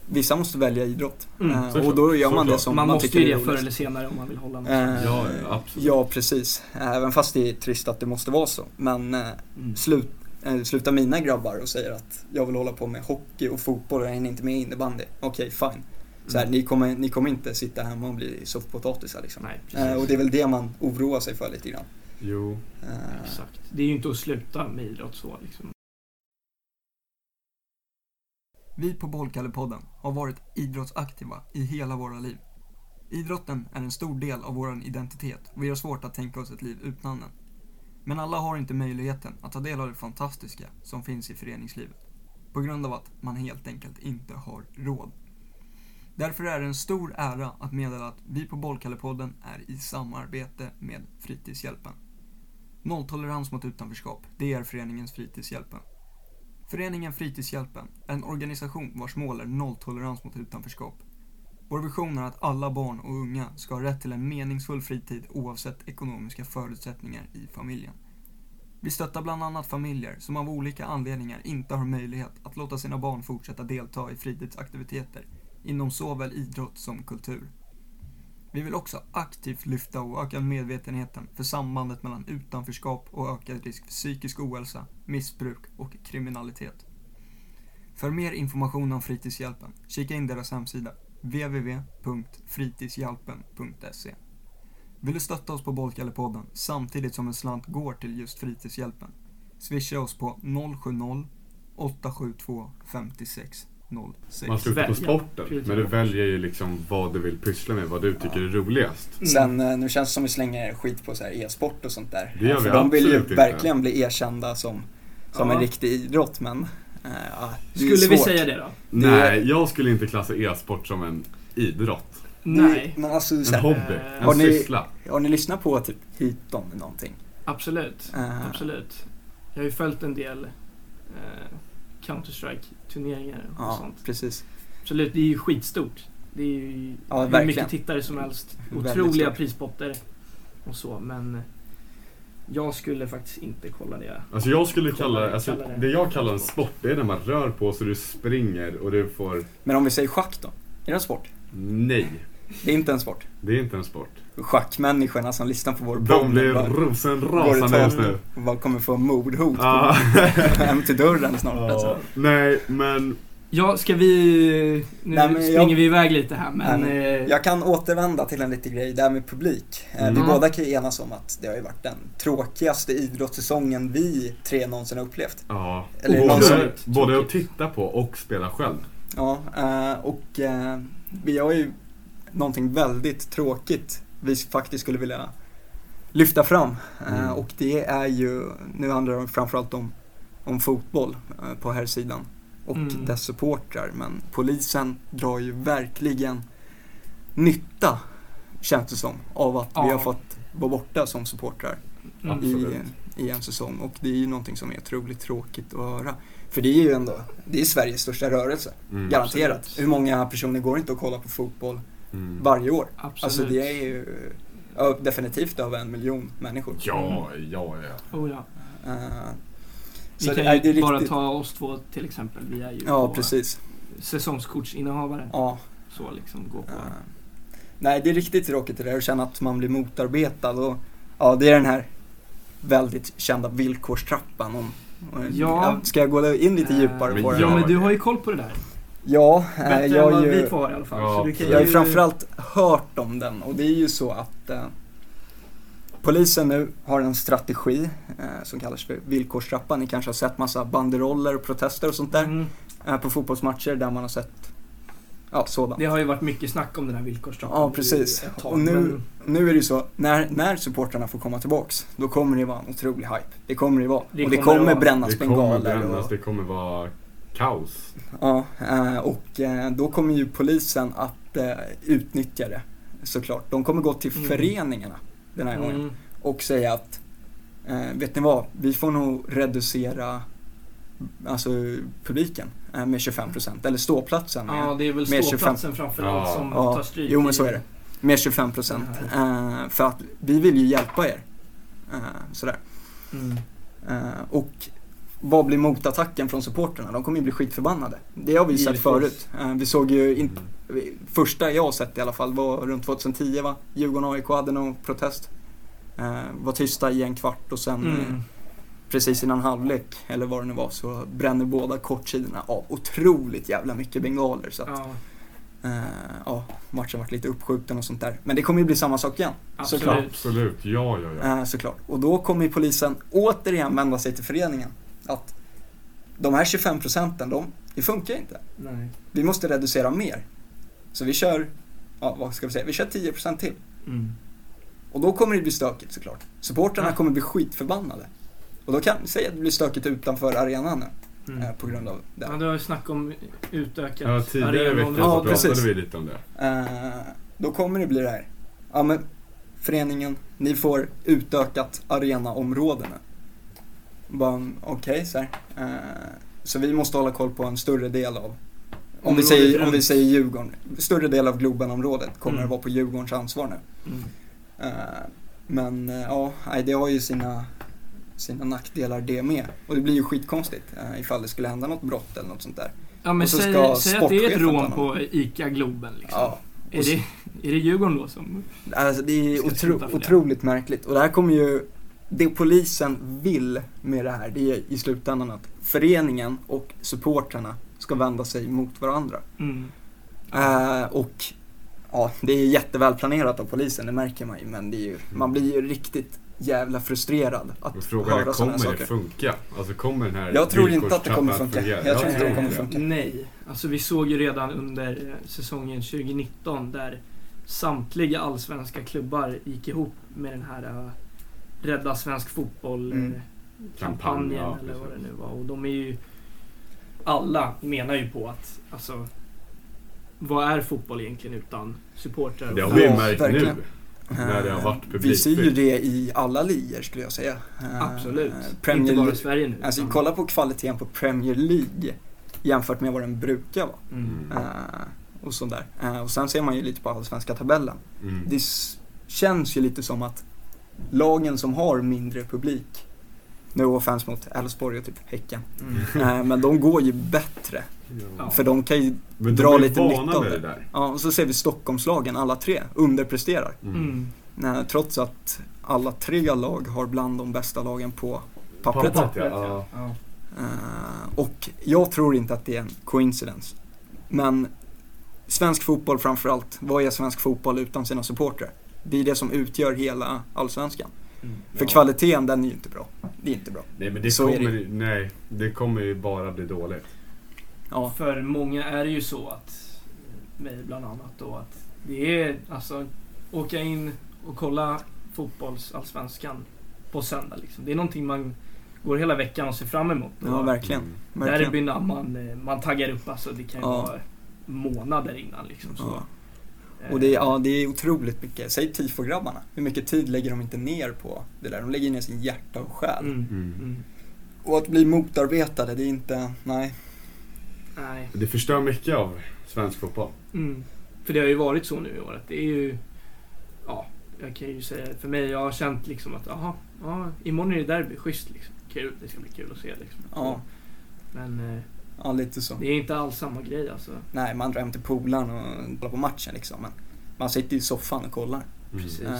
[SPEAKER 1] vissa måste välja idrott.
[SPEAKER 2] Mm,
[SPEAKER 1] Eh,
[SPEAKER 3] såklart.
[SPEAKER 1] och då gör man det
[SPEAKER 3] Såklart.
[SPEAKER 1] som
[SPEAKER 2] man
[SPEAKER 1] man,
[SPEAKER 2] måste
[SPEAKER 1] tycker
[SPEAKER 2] ju
[SPEAKER 1] är
[SPEAKER 2] det förr eller
[SPEAKER 1] roligast.
[SPEAKER 2] senare om man vill hålla något.
[SPEAKER 1] Eh,
[SPEAKER 3] Ja, absolut.
[SPEAKER 1] Ja, precis. Även fast det är trist att det måste vara så. Men eh,
[SPEAKER 2] Mm.
[SPEAKER 1] slut, eh, slutar mina grabbar och säger att jag vill hålla på med hockey och fotboll och jag hinner inte med innebandy. Okej, fine. Så här,
[SPEAKER 2] Mm.
[SPEAKER 1] ni, kommer, ni kommer inte sitta hemma och bli soffpotatisar liksom.
[SPEAKER 2] Nej, precis.
[SPEAKER 1] Eh, och det är väl det man oroar sig för lite grann.
[SPEAKER 3] Jo.
[SPEAKER 1] Eh,
[SPEAKER 2] Exakt. Det är ju inte att sluta med idrott så liksom.
[SPEAKER 1] Vi på Bollkallepodden har varit idrottsaktiva i hela våra liv. Idrotten är en stor del av vår identitet och vi har svårt att tänka oss ett liv utan den. Men alla har inte möjligheten att ta del av det fantastiska som finns i föreningslivet. På grund av att man helt enkelt inte har råd. Därför är det en stor ära att meddela att vi på Bollkallepodden är i samarbete med Fritidshjälpen. Nolltolerans mot utanförskap, det är föreningens Fritidshjälpen. Föreningen Fritidshjälpen är en organisation vars mål är nolltolerans mot utanförskap. Vår vision är att alla barn och unga ska ha rätt till en meningsfull fritid oavsett ekonomiska förutsättningar i familjen. Vi stöttar bland annat familjer som av olika anledningar inte har möjlighet att låta sina barn fortsätta delta i fritidsaktiviteter inom såväl idrott som kultur. Vi vill också aktivt lyfta och öka medvetenheten för sambandet mellan utanförskap och ökad risk för psykisk ohälsa, missbruk och kriminalitet. För mer information om Fritidshjälpen, kika in deras hemsida www.fritidshjälpen.se Vill du stötta oss på Bollkallepodden samtidigt som en slant går till just Fritidshjälpen? Swisha oss på 070 872 5606.
[SPEAKER 3] Man slutar på
[SPEAKER 2] Välja.
[SPEAKER 3] sporten.
[SPEAKER 2] Prioritera
[SPEAKER 3] Men du
[SPEAKER 2] bort.
[SPEAKER 3] väljer ju liksom vad du vill pyssla med, vad du tycker är roligast.
[SPEAKER 2] Mm.
[SPEAKER 1] Sen, eh, nu känns det som vi slänger skit på så här e-sport och sånt där.
[SPEAKER 3] Det gör vi
[SPEAKER 1] För de vill ju
[SPEAKER 3] absolut inte.
[SPEAKER 1] verkligen bli erkända som, som
[SPEAKER 2] Ja.
[SPEAKER 1] en riktig idrott, men eh, ja, det är
[SPEAKER 2] Skulle vi
[SPEAKER 1] svårt.
[SPEAKER 2] säga det då?
[SPEAKER 3] Nej, jag skulle inte klassa e-sport som en idrott.
[SPEAKER 1] Det är-
[SPEAKER 2] Nej,
[SPEAKER 1] Men alltså, så här,
[SPEAKER 3] En hobby,
[SPEAKER 2] Eh,
[SPEAKER 1] har
[SPEAKER 3] en
[SPEAKER 1] ni-
[SPEAKER 3] syssla.
[SPEAKER 1] har ni lyssnat på typ Heaton eller någonting?
[SPEAKER 2] absolut.
[SPEAKER 1] Eh,
[SPEAKER 2] Absolut. Jag har ju följt en del eh, Counter-Strike-turneringar och
[SPEAKER 1] Ja,
[SPEAKER 2] sånt.
[SPEAKER 1] precis.
[SPEAKER 2] Absolut, det är ju skitstort. Det är ju
[SPEAKER 1] Ja,
[SPEAKER 2] hur
[SPEAKER 1] verkligen.
[SPEAKER 2] mycket tittare som helst.
[SPEAKER 1] Väldigt
[SPEAKER 2] Otroliga
[SPEAKER 1] stort.
[SPEAKER 2] prispotter och så, men jag skulle faktiskt inte kolla det.
[SPEAKER 3] Alltså jag skulle kalla,
[SPEAKER 2] Kolla-
[SPEAKER 3] alltså
[SPEAKER 2] kalla det.
[SPEAKER 3] det jag kallar en sport, det är när man rör på sig, du springer och du får...
[SPEAKER 1] Men om vi säger schack då? Är det en sport?
[SPEAKER 3] Nej,
[SPEAKER 1] Det är inte en sport.
[SPEAKER 3] det är inte en sport.
[SPEAKER 1] Schackmänniskorna som lyssnar på vår
[SPEAKER 3] De blir
[SPEAKER 1] bara-
[SPEAKER 3] rosenrasande just nu.
[SPEAKER 1] bara kommer få mordhot
[SPEAKER 3] Ja.
[SPEAKER 1] hem till dörren snart. Alltså.
[SPEAKER 3] Ja, Nej, men
[SPEAKER 2] Ja, ska vi... Nu
[SPEAKER 1] Nej, men
[SPEAKER 2] springer
[SPEAKER 1] jag-
[SPEAKER 2] vi iväg lite här, men...
[SPEAKER 1] Nej,
[SPEAKER 2] eh,
[SPEAKER 1] Jag kan återvända till en liten grej där med publik. Eh,
[SPEAKER 3] Mm.
[SPEAKER 1] Vi båda kan ju enas om att det har ju varit den tråkigaste idrottssäsongen vi tre någonsin har upplevt.
[SPEAKER 3] Ja,
[SPEAKER 1] Eller
[SPEAKER 3] både,
[SPEAKER 1] någon
[SPEAKER 2] som-
[SPEAKER 3] både att titta på och spela själv.
[SPEAKER 1] Ja, eh, och eh, vi har ju någonting väldigt tråkigt vi faktiskt skulle vilja lyfta fram. Eh,
[SPEAKER 3] Mm.
[SPEAKER 1] Och det är ju, nu handlar det framförallt om, om fotboll eh, på här sidan och
[SPEAKER 2] Mm.
[SPEAKER 1] dess supportrar. Men polisen drar ju verkligen nytta, känns det som, av att vi
[SPEAKER 2] Ja.
[SPEAKER 1] har fått vara borta som supportrar
[SPEAKER 2] mm.
[SPEAKER 1] i,
[SPEAKER 3] Absolut.
[SPEAKER 1] i en säsong. Och det är ju någonting som är otroligt tråkigt att höra. För det är ju ändå, det är Sveriges största rörelse.
[SPEAKER 3] Mm.
[SPEAKER 1] Garanterat.
[SPEAKER 2] absolut.
[SPEAKER 1] Hur många personer går inte och kollar på fotboll
[SPEAKER 3] Mm.
[SPEAKER 1] varje år?
[SPEAKER 2] Absolut.
[SPEAKER 1] Alltså det är ju ja, definitivt över en miljon människor.
[SPEAKER 3] Ja, ja, ja.
[SPEAKER 2] Oh, ja.
[SPEAKER 1] Eh,
[SPEAKER 2] Vi
[SPEAKER 1] så
[SPEAKER 2] kan
[SPEAKER 1] det, är- det
[SPEAKER 2] ju
[SPEAKER 1] är
[SPEAKER 2] bara
[SPEAKER 1] riktigt-
[SPEAKER 2] ta oss två till exempel. Vi är ju
[SPEAKER 1] Ja,
[SPEAKER 2] på
[SPEAKER 1] precis.
[SPEAKER 2] säsongskortsinnehavare.
[SPEAKER 1] Ja,
[SPEAKER 2] Så liksom, gå på...
[SPEAKER 1] eh, nej, det är riktigt tråkigt det där att känna att man blir motarbetad. Och, ja, det är den här väldigt kända villkorstrappan. Om,
[SPEAKER 2] Ja.
[SPEAKER 1] Ska jag gå in lite
[SPEAKER 2] Eh,
[SPEAKER 1] djupare på
[SPEAKER 3] Men
[SPEAKER 1] det?
[SPEAKER 2] Ja,
[SPEAKER 1] här?
[SPEAKER 2] men du har ju koll på det där.
[SPEAKER 1] Ja, eh,
[SPEAKER 2] Bättre
[SPEAKER 1] jag
[SPEAKER 2] än
[SPEAKER 1] har
[SPEAKER 2] vad
[SPEAKER 1] ju...
[SPEAKER 2] vi två har i alla fall.
[SPEAKER 3] Ja,
[SPEAKER 2] så du kan
[SPEAKER 1] Jag har ju
[SPEAKER 2] ju-
[SPEAKER 1] framförallt hört om den och det är ju så att eh, Polisen nu har en strategi eh, som kallas för villkorstrappan. Ni kanske har sett massa banderoller och protester och sånt där
[SPEAKER 2] Mm.
[SPEAKER 1] eh, på fotbollsmatcher där man har sett ja, sådant.
[SPEAKER 2] Det har ju varit mycket snack om den här villkorstrappan.
[SPEAKER 1] Ja, precis.
[SPEAKER 2] i ett tag,
[SPEAKER 1] Och nu,
[SPEAKER 2] men-
[SPEAKER 1] nu är det ju så, när, när supportrarna får komma tillbaks, då kommer det vara en otrolig hype. Det kommer det vara.
[SPEAKER 2] Det
[SPEAKER 1] och det
[SPEAKER 2] kommer det
[SPEAKER 1] kommer
[SPEAKER 2] vara.
[SPEAKER 1] brännas
[SPEAKER 3] Det kommer
[SPEAKER 1] bengaler.
[SPEAKER 3] brännas,
[SPEAKER 1] Och,
[SPEAKER 3] det kommer vara kaos.
[SPEAKER 1] ja, eh, och eh, då kommer ju polisen att eh, utnyttja det, såklart. De kommer gå till
[SPEAKER 2] Mm.
[SPEAKER 1] föreningarna den här gången
[SPEAKER 2] Mm.
[SPEAKER 1] och säga att eh, vet ni vad, vi får nog reducera alltså, publiken eh, med 25% eller ståplatsen med,
[SPEAKER 2] Ja, det är väl
[SPEAKER 1] Med
[SPEAKER 2] ståplatsen framförallt
[SPEAKER 3] Ja.
[SPEAKER 2] som
[SPEAKER 1] Ja.
[SPEAKER 2] tar stryk.
[SPEAKER 1] Jo, men så
[SPEAKER 2] i-
[SPEAKER 1] är det. med 25% eh, för att vi vill ju hjälpa er. Eh, sådär.
[SPEAKER 2] Mm.
[SPEAKER 1] Eh, och vad blir motattacken från supporterna? De kommer ju bli skitförbannade. Det har vi ju sett
[SPEAKER 2] Givetvis.
[SPEAKER 1] förut. Eh, vi såg ju, in,
[SPEAKER 3] Mm.
[SPEAKER 1] första jag har sett i alla fall var runt 2010 va? Djurgården-AIK hade någon protest. Eh, var tysta i en kvart och sen eh,
[SPEAKER 2] Mm.
[SPEAKER 1] precis innan halvlek, eller vad det nu var, så bränner båda kortsidorna av otroligt jävla mycket bengaler. Så att,
[SPEAKER 2] Ja,
[SPEAKER 1] ja. Eh, ja, matchen vart lite uppskjuten och sånt där. Men det kommer ju bli samma sak igen, Såklart.
[SPEAKER 2] absolut.
[SPEAKER 3] Absolut, ja ja ja.
[SPEAKER 1] eh, såklart. Och då kommer ju polisen återigen vända sig till föreningen. Att de här 25 procenten, de, det funkar inte.
[SPEAKER 2] Nej.
[SPEAKER 1] Vi måste reducera mer. Så vi kör, ja vad ska vi säga, vi kör 10 procent till.
[SPEAKER 2] Mm.
[SPEAKER 1] Och då kommer det bli stökigt såklart. Supporterna
[SPEAKER 2] Ja.
[SPEAKER 1] kommer bli skitförbannade. Och då kan, säg att det blir stökigt utanför arenan nu,
[SPEAKER 2] Mm.
[SPEAKER 1] eh, på grund av det.
[SPEAKER 2] Ja, det har ju snack om utökat
[SPEAKER 3] ja tidigare i veckan
[SPEAKER 2] arenaområde.
[SPEAKER 3] så
[SPEAKER 1] Ja,
[SPEAKER 3] pratade
[SPEAKER 1] precis.
[SPEAKER 3] vi lite om det.
[SPEAKER 1] Eh, då kommer det bli det här. Ja men, föreningen, ni får utökat arenaområde nu. Bara, mm, Okej, så här. Eh, så vi måste hålla koll på en större del av, om vi,
[SPEAKER 2] Området
[SPEAKER 1] säger, om
[SPEAKER 2] runt.
[SPEAKER 1] vi säger Djurgården, större del av Globenområdet kommer
[SPEAKER 2] Mm.
[SPEAKER 1] att vara på Djurgårdens ansvar nu.
[SPEAKER 2] Mm.
[SPEAKER 1] Eh, men eh, ja, nej, det har ju sina, sina nackdelar det med. Och det blir ju skitkonstigt eh, ifall det skulle hända något brott eller något sånt där.
[SPEAKER 2] Ja, men
[SPEAKER 1] Och så
[SPEAKER 2] säg,
[SPEAKER 1] ska
[SPEAKER 2] säg att det är ett
[SPEAKER 1] sportchefen ta
[SPEAKER 2] rån
[SPEAKER 1] hand om
[SPEAKER 2] på ICA Globen. Liksom.
[SPEAKER 1] Ja.
[SPEAKER 2] Är, det, är det Djurgården då som...
[SPEAKER 1] Alltså det är
[SPEAKER 2] Ska sluta
[SPEAKER 1] otro,
[SPEAKER 2] för det.
[SPEAKER 1] otroligt märkligt. Och det här kommer ju, det polisen vill med det här, det är i slutändan att föreningen och supportrarna ska vända sig mot varandra.
[SPEAKER 2] Mm.
[SPEAKER 1] Eh, och ja, det är jätteväl planerat av polisen, det märker man ju. Men det är
[SPEAKER 2] Mm.
[SPEAKER 1] ju, man blir ju riktigt jävla frustrerad
[SPEAKER 3] Och
[SPEAKER 1] att
[SPEAKER 3] frågan är,
[SPEAKER 1] höra sådana
[SPEAKER 3] kommer det
[SPEAKER 1] saker.
[SPEAKER 3] funka? Alltså kommer den här
[SPEAKER 1] Jag tror inte att det kommer
[SPEAKER 3] villkorstrappan
[SPEAKER 1] funka.
[SPEAKER 3] fungera?
[SPEAKER 1] Jag tror inte det kommer funka.
[SPEAKER 2] Eh, Nej, alltså vi såg ju redan under eh, säsongen 2019 där samtliga allsvenska klubbar gick ihop med den här eh, Rädda Svensk
[SPEAKER 1] Mm.
[SPEAKER 2] Fotboll-kampanjen
[SPEAKER 3] Kampanj, ja,
[SPEAKER 2] eller vad det
[SPEAKER 3] precis.
[SPEAKER 2] nu var. Och de är ju... Alla menar ju på att, alltså... Vad är fotboll egentligen utan supportrar?
[SPEAKER 3] Det har
[SPEAKER 1] Ja,
[SPEAKER 3] vi ju märkt
[SPEAKER 1] verkligen.
[SPEAKER 3] nu.
[SPEAKER 2] Mm.
[SPEAKER 3] När det har varit
[SPEAKER 1] Eh, Vi
[SPEAKER 3] publikfritt.
[SPEAKER 1] ser ju det i alla ligor skulle jag säga. Eh,
[SPEAKER 2] Absolut.
[SPEAKER 1] Premier
[SPEAKER 2] Inte bara
[SPEAKER 1] League-
[SPEAKER 2] i Sverige nu.
[SPEAKER 1] Alltså
[SPEAKER 2] utan-
[SPEAKER 1] kolla på kvaliteten på Premier League jämfört med vad den brukar vara.
[SPEAKER 2] Mm.
[SPEAKER 1] Eh, och sådär. Eh, och sen ser man ju lite på allsvenska tabellen.
[SPEAKER 3] Mm.
[SPEAKER 1] Det s- känns ju lite som att lagen som har mindre publik, no offense mot Elfsborg och typ Häcken,
[SPEAKER 2] Mm.
[SPEAKER 1] eh, men de går ju bättre.
[SPEAKER 3] Ja.
[SPEAKER 1] För de kan ju,
[SPEAKER 3] Men
[SPEAKER 1] dra
[SPEAKER 3] de är
[SPEAKER 1] lite
[SPEAKER 3] vana
[SPEAKER 1] nytta av
[SPEAKER 3] med
[SPEAKER 1] det.
[SPEAKER 3] det där.
[SPEAKER 1] ja och så ser vi Stockholmslagen, alla tre, underpresterar.
[SPEAKER 3] Mm.
[SPEAKER 2] Mm.
[SPEAKER 1] Eh, trots att alla tre lag har bland de bästa lagen på pappret.
[SPEAKER 3] Pappret, ja.
[SPEAKER 2] Ja.
[SPEAKER 1] Eh, och jag tror inte att det är en coincidence. Men svensk fotboll framförallt, vad är svensk fotboll utan sina supportrar? Det är det som utgör hela allsvenskan.
[SPEAKER 2] Mm.
[SPEAKER 1] För
[SPEAKER 3] Ja.
[SPEAKER 1] kvaliteten, den är ju inte bra. Det är inte bra.
[SPEAKER 3] Nej men det
[SPEAKER 1] Så är
[SPEAKER 3] kommer, nej, det kommer ju bara bli dåligt.
[SPEAKER 1] Ja,
[SPEAKER 2] För många är det ju så att, mig bland annat då, att det är alltså åka in och kolla fotbollsallsvenskan på söndag liksom. Det är någonting man går hela veckan och ser fram emot.
[SPEAKER 1] ja
[SPEAKER 2] och
[SPEAKER 1] verkligen.
[SPEAKER 3] Mm.
[SPEAKER 1] verkligen.
[SPEAKER 2] derbyn när man, eh, man taggar upp alltså. Det kan ju
[SPEAKER 1] Ja.
[SPEAKER 2] vara månader innan liksom. Så.
[SPEAKER 1] Ja. Och det är,
[SPEAKER 2] Eh,
[SPEAKER 1] ja, det är otroligt mycket. Säg tifograbbarna. Hur mycket tid lägger de inte ner på det där? De lägger ner sin hjärta och själ.
[SPEAKER 2] Mm.
[SPEAKER 3] Mm.
[SPEAKER 2] Mm.
[SPEAKER 1] Och att bli motarbetade, det är inte, nej.
[SPEAKER 2] Nej.
[SPEAKER 3] Det förstör mycket av svensk fotboll.
[SPEAKER 2] Mm. För det har ju varit så nu i år att det är ju... Ja, jag kan ju säga för mig, jag har känt liksom att aha, ja, imorgon är det derby, schysst liksom. Kul, det ska bli kul att se liksom.
[SPEAKER 1] Ja,
[SPEAKER 2] Men eh,
[SPEAKER 1] ja lite så.
[SPEAKER 2] det är inte alls samma grej alltså.
[SPEAKER 1] Nej, man drar hem till polaren och kollar på matchen liksom. Men man sitter ju i soffan och kollar.
[SPEAKER 3] Mm.
[SPEAKER 2] Precis.
[SPEAKER 1] Eh,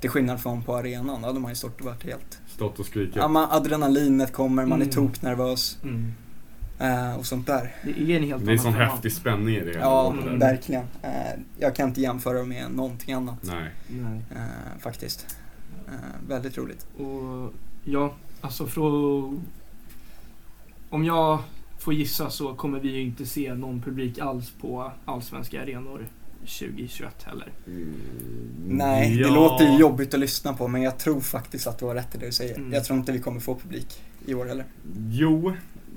[SPEAKER 1] till skillnad från på arenan, då hade man ju stått och varit helt...
[SPEAKER 3] Stått och skrikit.
[SPEAKER 1] Ja, man, adrenalinet kommer, man är
[SPEAKER 2] Mm.
[SPEAKER 1] toknervös eh, och sånt där.
[SPEAKER 2] Det är en helt
[SPEAKER 3] Det är en sån
[SPEAKER 2] annan femma.
[SPEAKER 3] häftig spänning i det hela.
[SPEAKER 1] Ja,
[SPEAKER 3] Det
[SPEAKER 2] Mm.
[SPEAKER 3] där.
[SPEAKER 1] verkligen. Eh, jag kan inte jämföra med någonting annat
[SPEAKER 3] Nej.
[SPEAKER 2] Nej.
[SPEAKER 1] eh, faktiskt. Eh, väldigt roligt.
[SPEAKER 2] Och ja, alltså från... Om jag får gissa så kommer vi ju inte se någon publik alls på allsvenska arenor 2021 heller.
[SPEAKER 1] Nej, det låter ju jobbigt att lyssna på men jag tror faktiskt att du har rätt i det du säger.
[SPEAKER 2] Mm.
[SPEAKER 1] Jag tror inte vi kommer få publik i år heller.
[SPEAKER 3] Jo,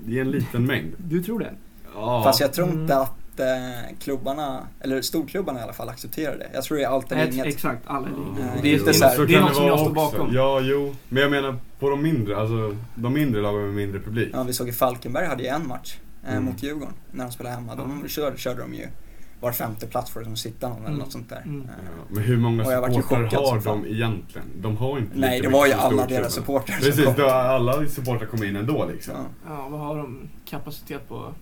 [SPEAKER 3] i en liten mängd.
[SPEAKER 2] Du tror det?
[SPEAKER 3] Ja.
[SPEAKER 1] Fast jag tror
[SPEAKER 2] Mm.
[SPEAKER 1] inte att eh, klubbarna, eller storklubbarna i alla fall, accepterar det. Jag tror det är allt eller
[SPEAKER 2] Nej,
[SPEAKER 1] inget.
[SPEAKER 2] Exakt, alla ligor.
[SPEAKER 1] Nej,
[SPEAKER 2] Det är,
[SPEAKER 1] jo,
[SPEAKER 2] det
[SPEAKER 1] så här.
[SPEAKER 2] är, det är
[SPEAKER 3] Mm. kan
[SPEAKER 2] något som
[SPEAKER 3] vara
[SPEAKER 2] jag står
[SPEAKER 3] också.
[SPEAKER 2] bakom.
[SPEAKER 3] Ja, jo. Men jag menar på de mindre, alltså de mindre lagen med mindre publik.
[SPEAKER 1] Ja, vi såg i Falkenberg hade ju en match eh,
[SPEAKER 3] Mm.
[SPEAKER 1] mot Djurgården när de spelade hemma. De
[SPEAKER 2] Ja.
[SPEAKER 1] körde, körde de ju var femte plats för att sitta någon eller
[SPEAKER 2] Mm.
[SPEAKER 1] något sånt där.
[SPEAKER 2] Mm.
[SPEAKER 1] Eh,
[SPEAKER 3] Ja, Men hur många
[SPEAKER 1] Och jag vart ju
[SPEAKER 3] supportrar
[SPEAKER 1] chockad som
[SPEAKER 3] har
[SPEAKER 1] fan.
[SPEAKER 3] de egentligen? De har ju inte
[SPEAKER 1] Nej, det
[SPEAKER 3] lika
[SPEAKER 1] var ju
[SPEAKER 3] mycket som
[SPEAKER 1] alla deras
[SPEAKER 3] storklubbarna.
[SPEAKER 1] supportrar som
[SPEAKER 3] Precis,
[SPEAKER 1] kom.
[SPEAKER 3] då har alla supportrar kom in ändå liksom.
[SPEAKER 1] Ja,
[SPEAKER 2] Ja, vad har de kapacitet på?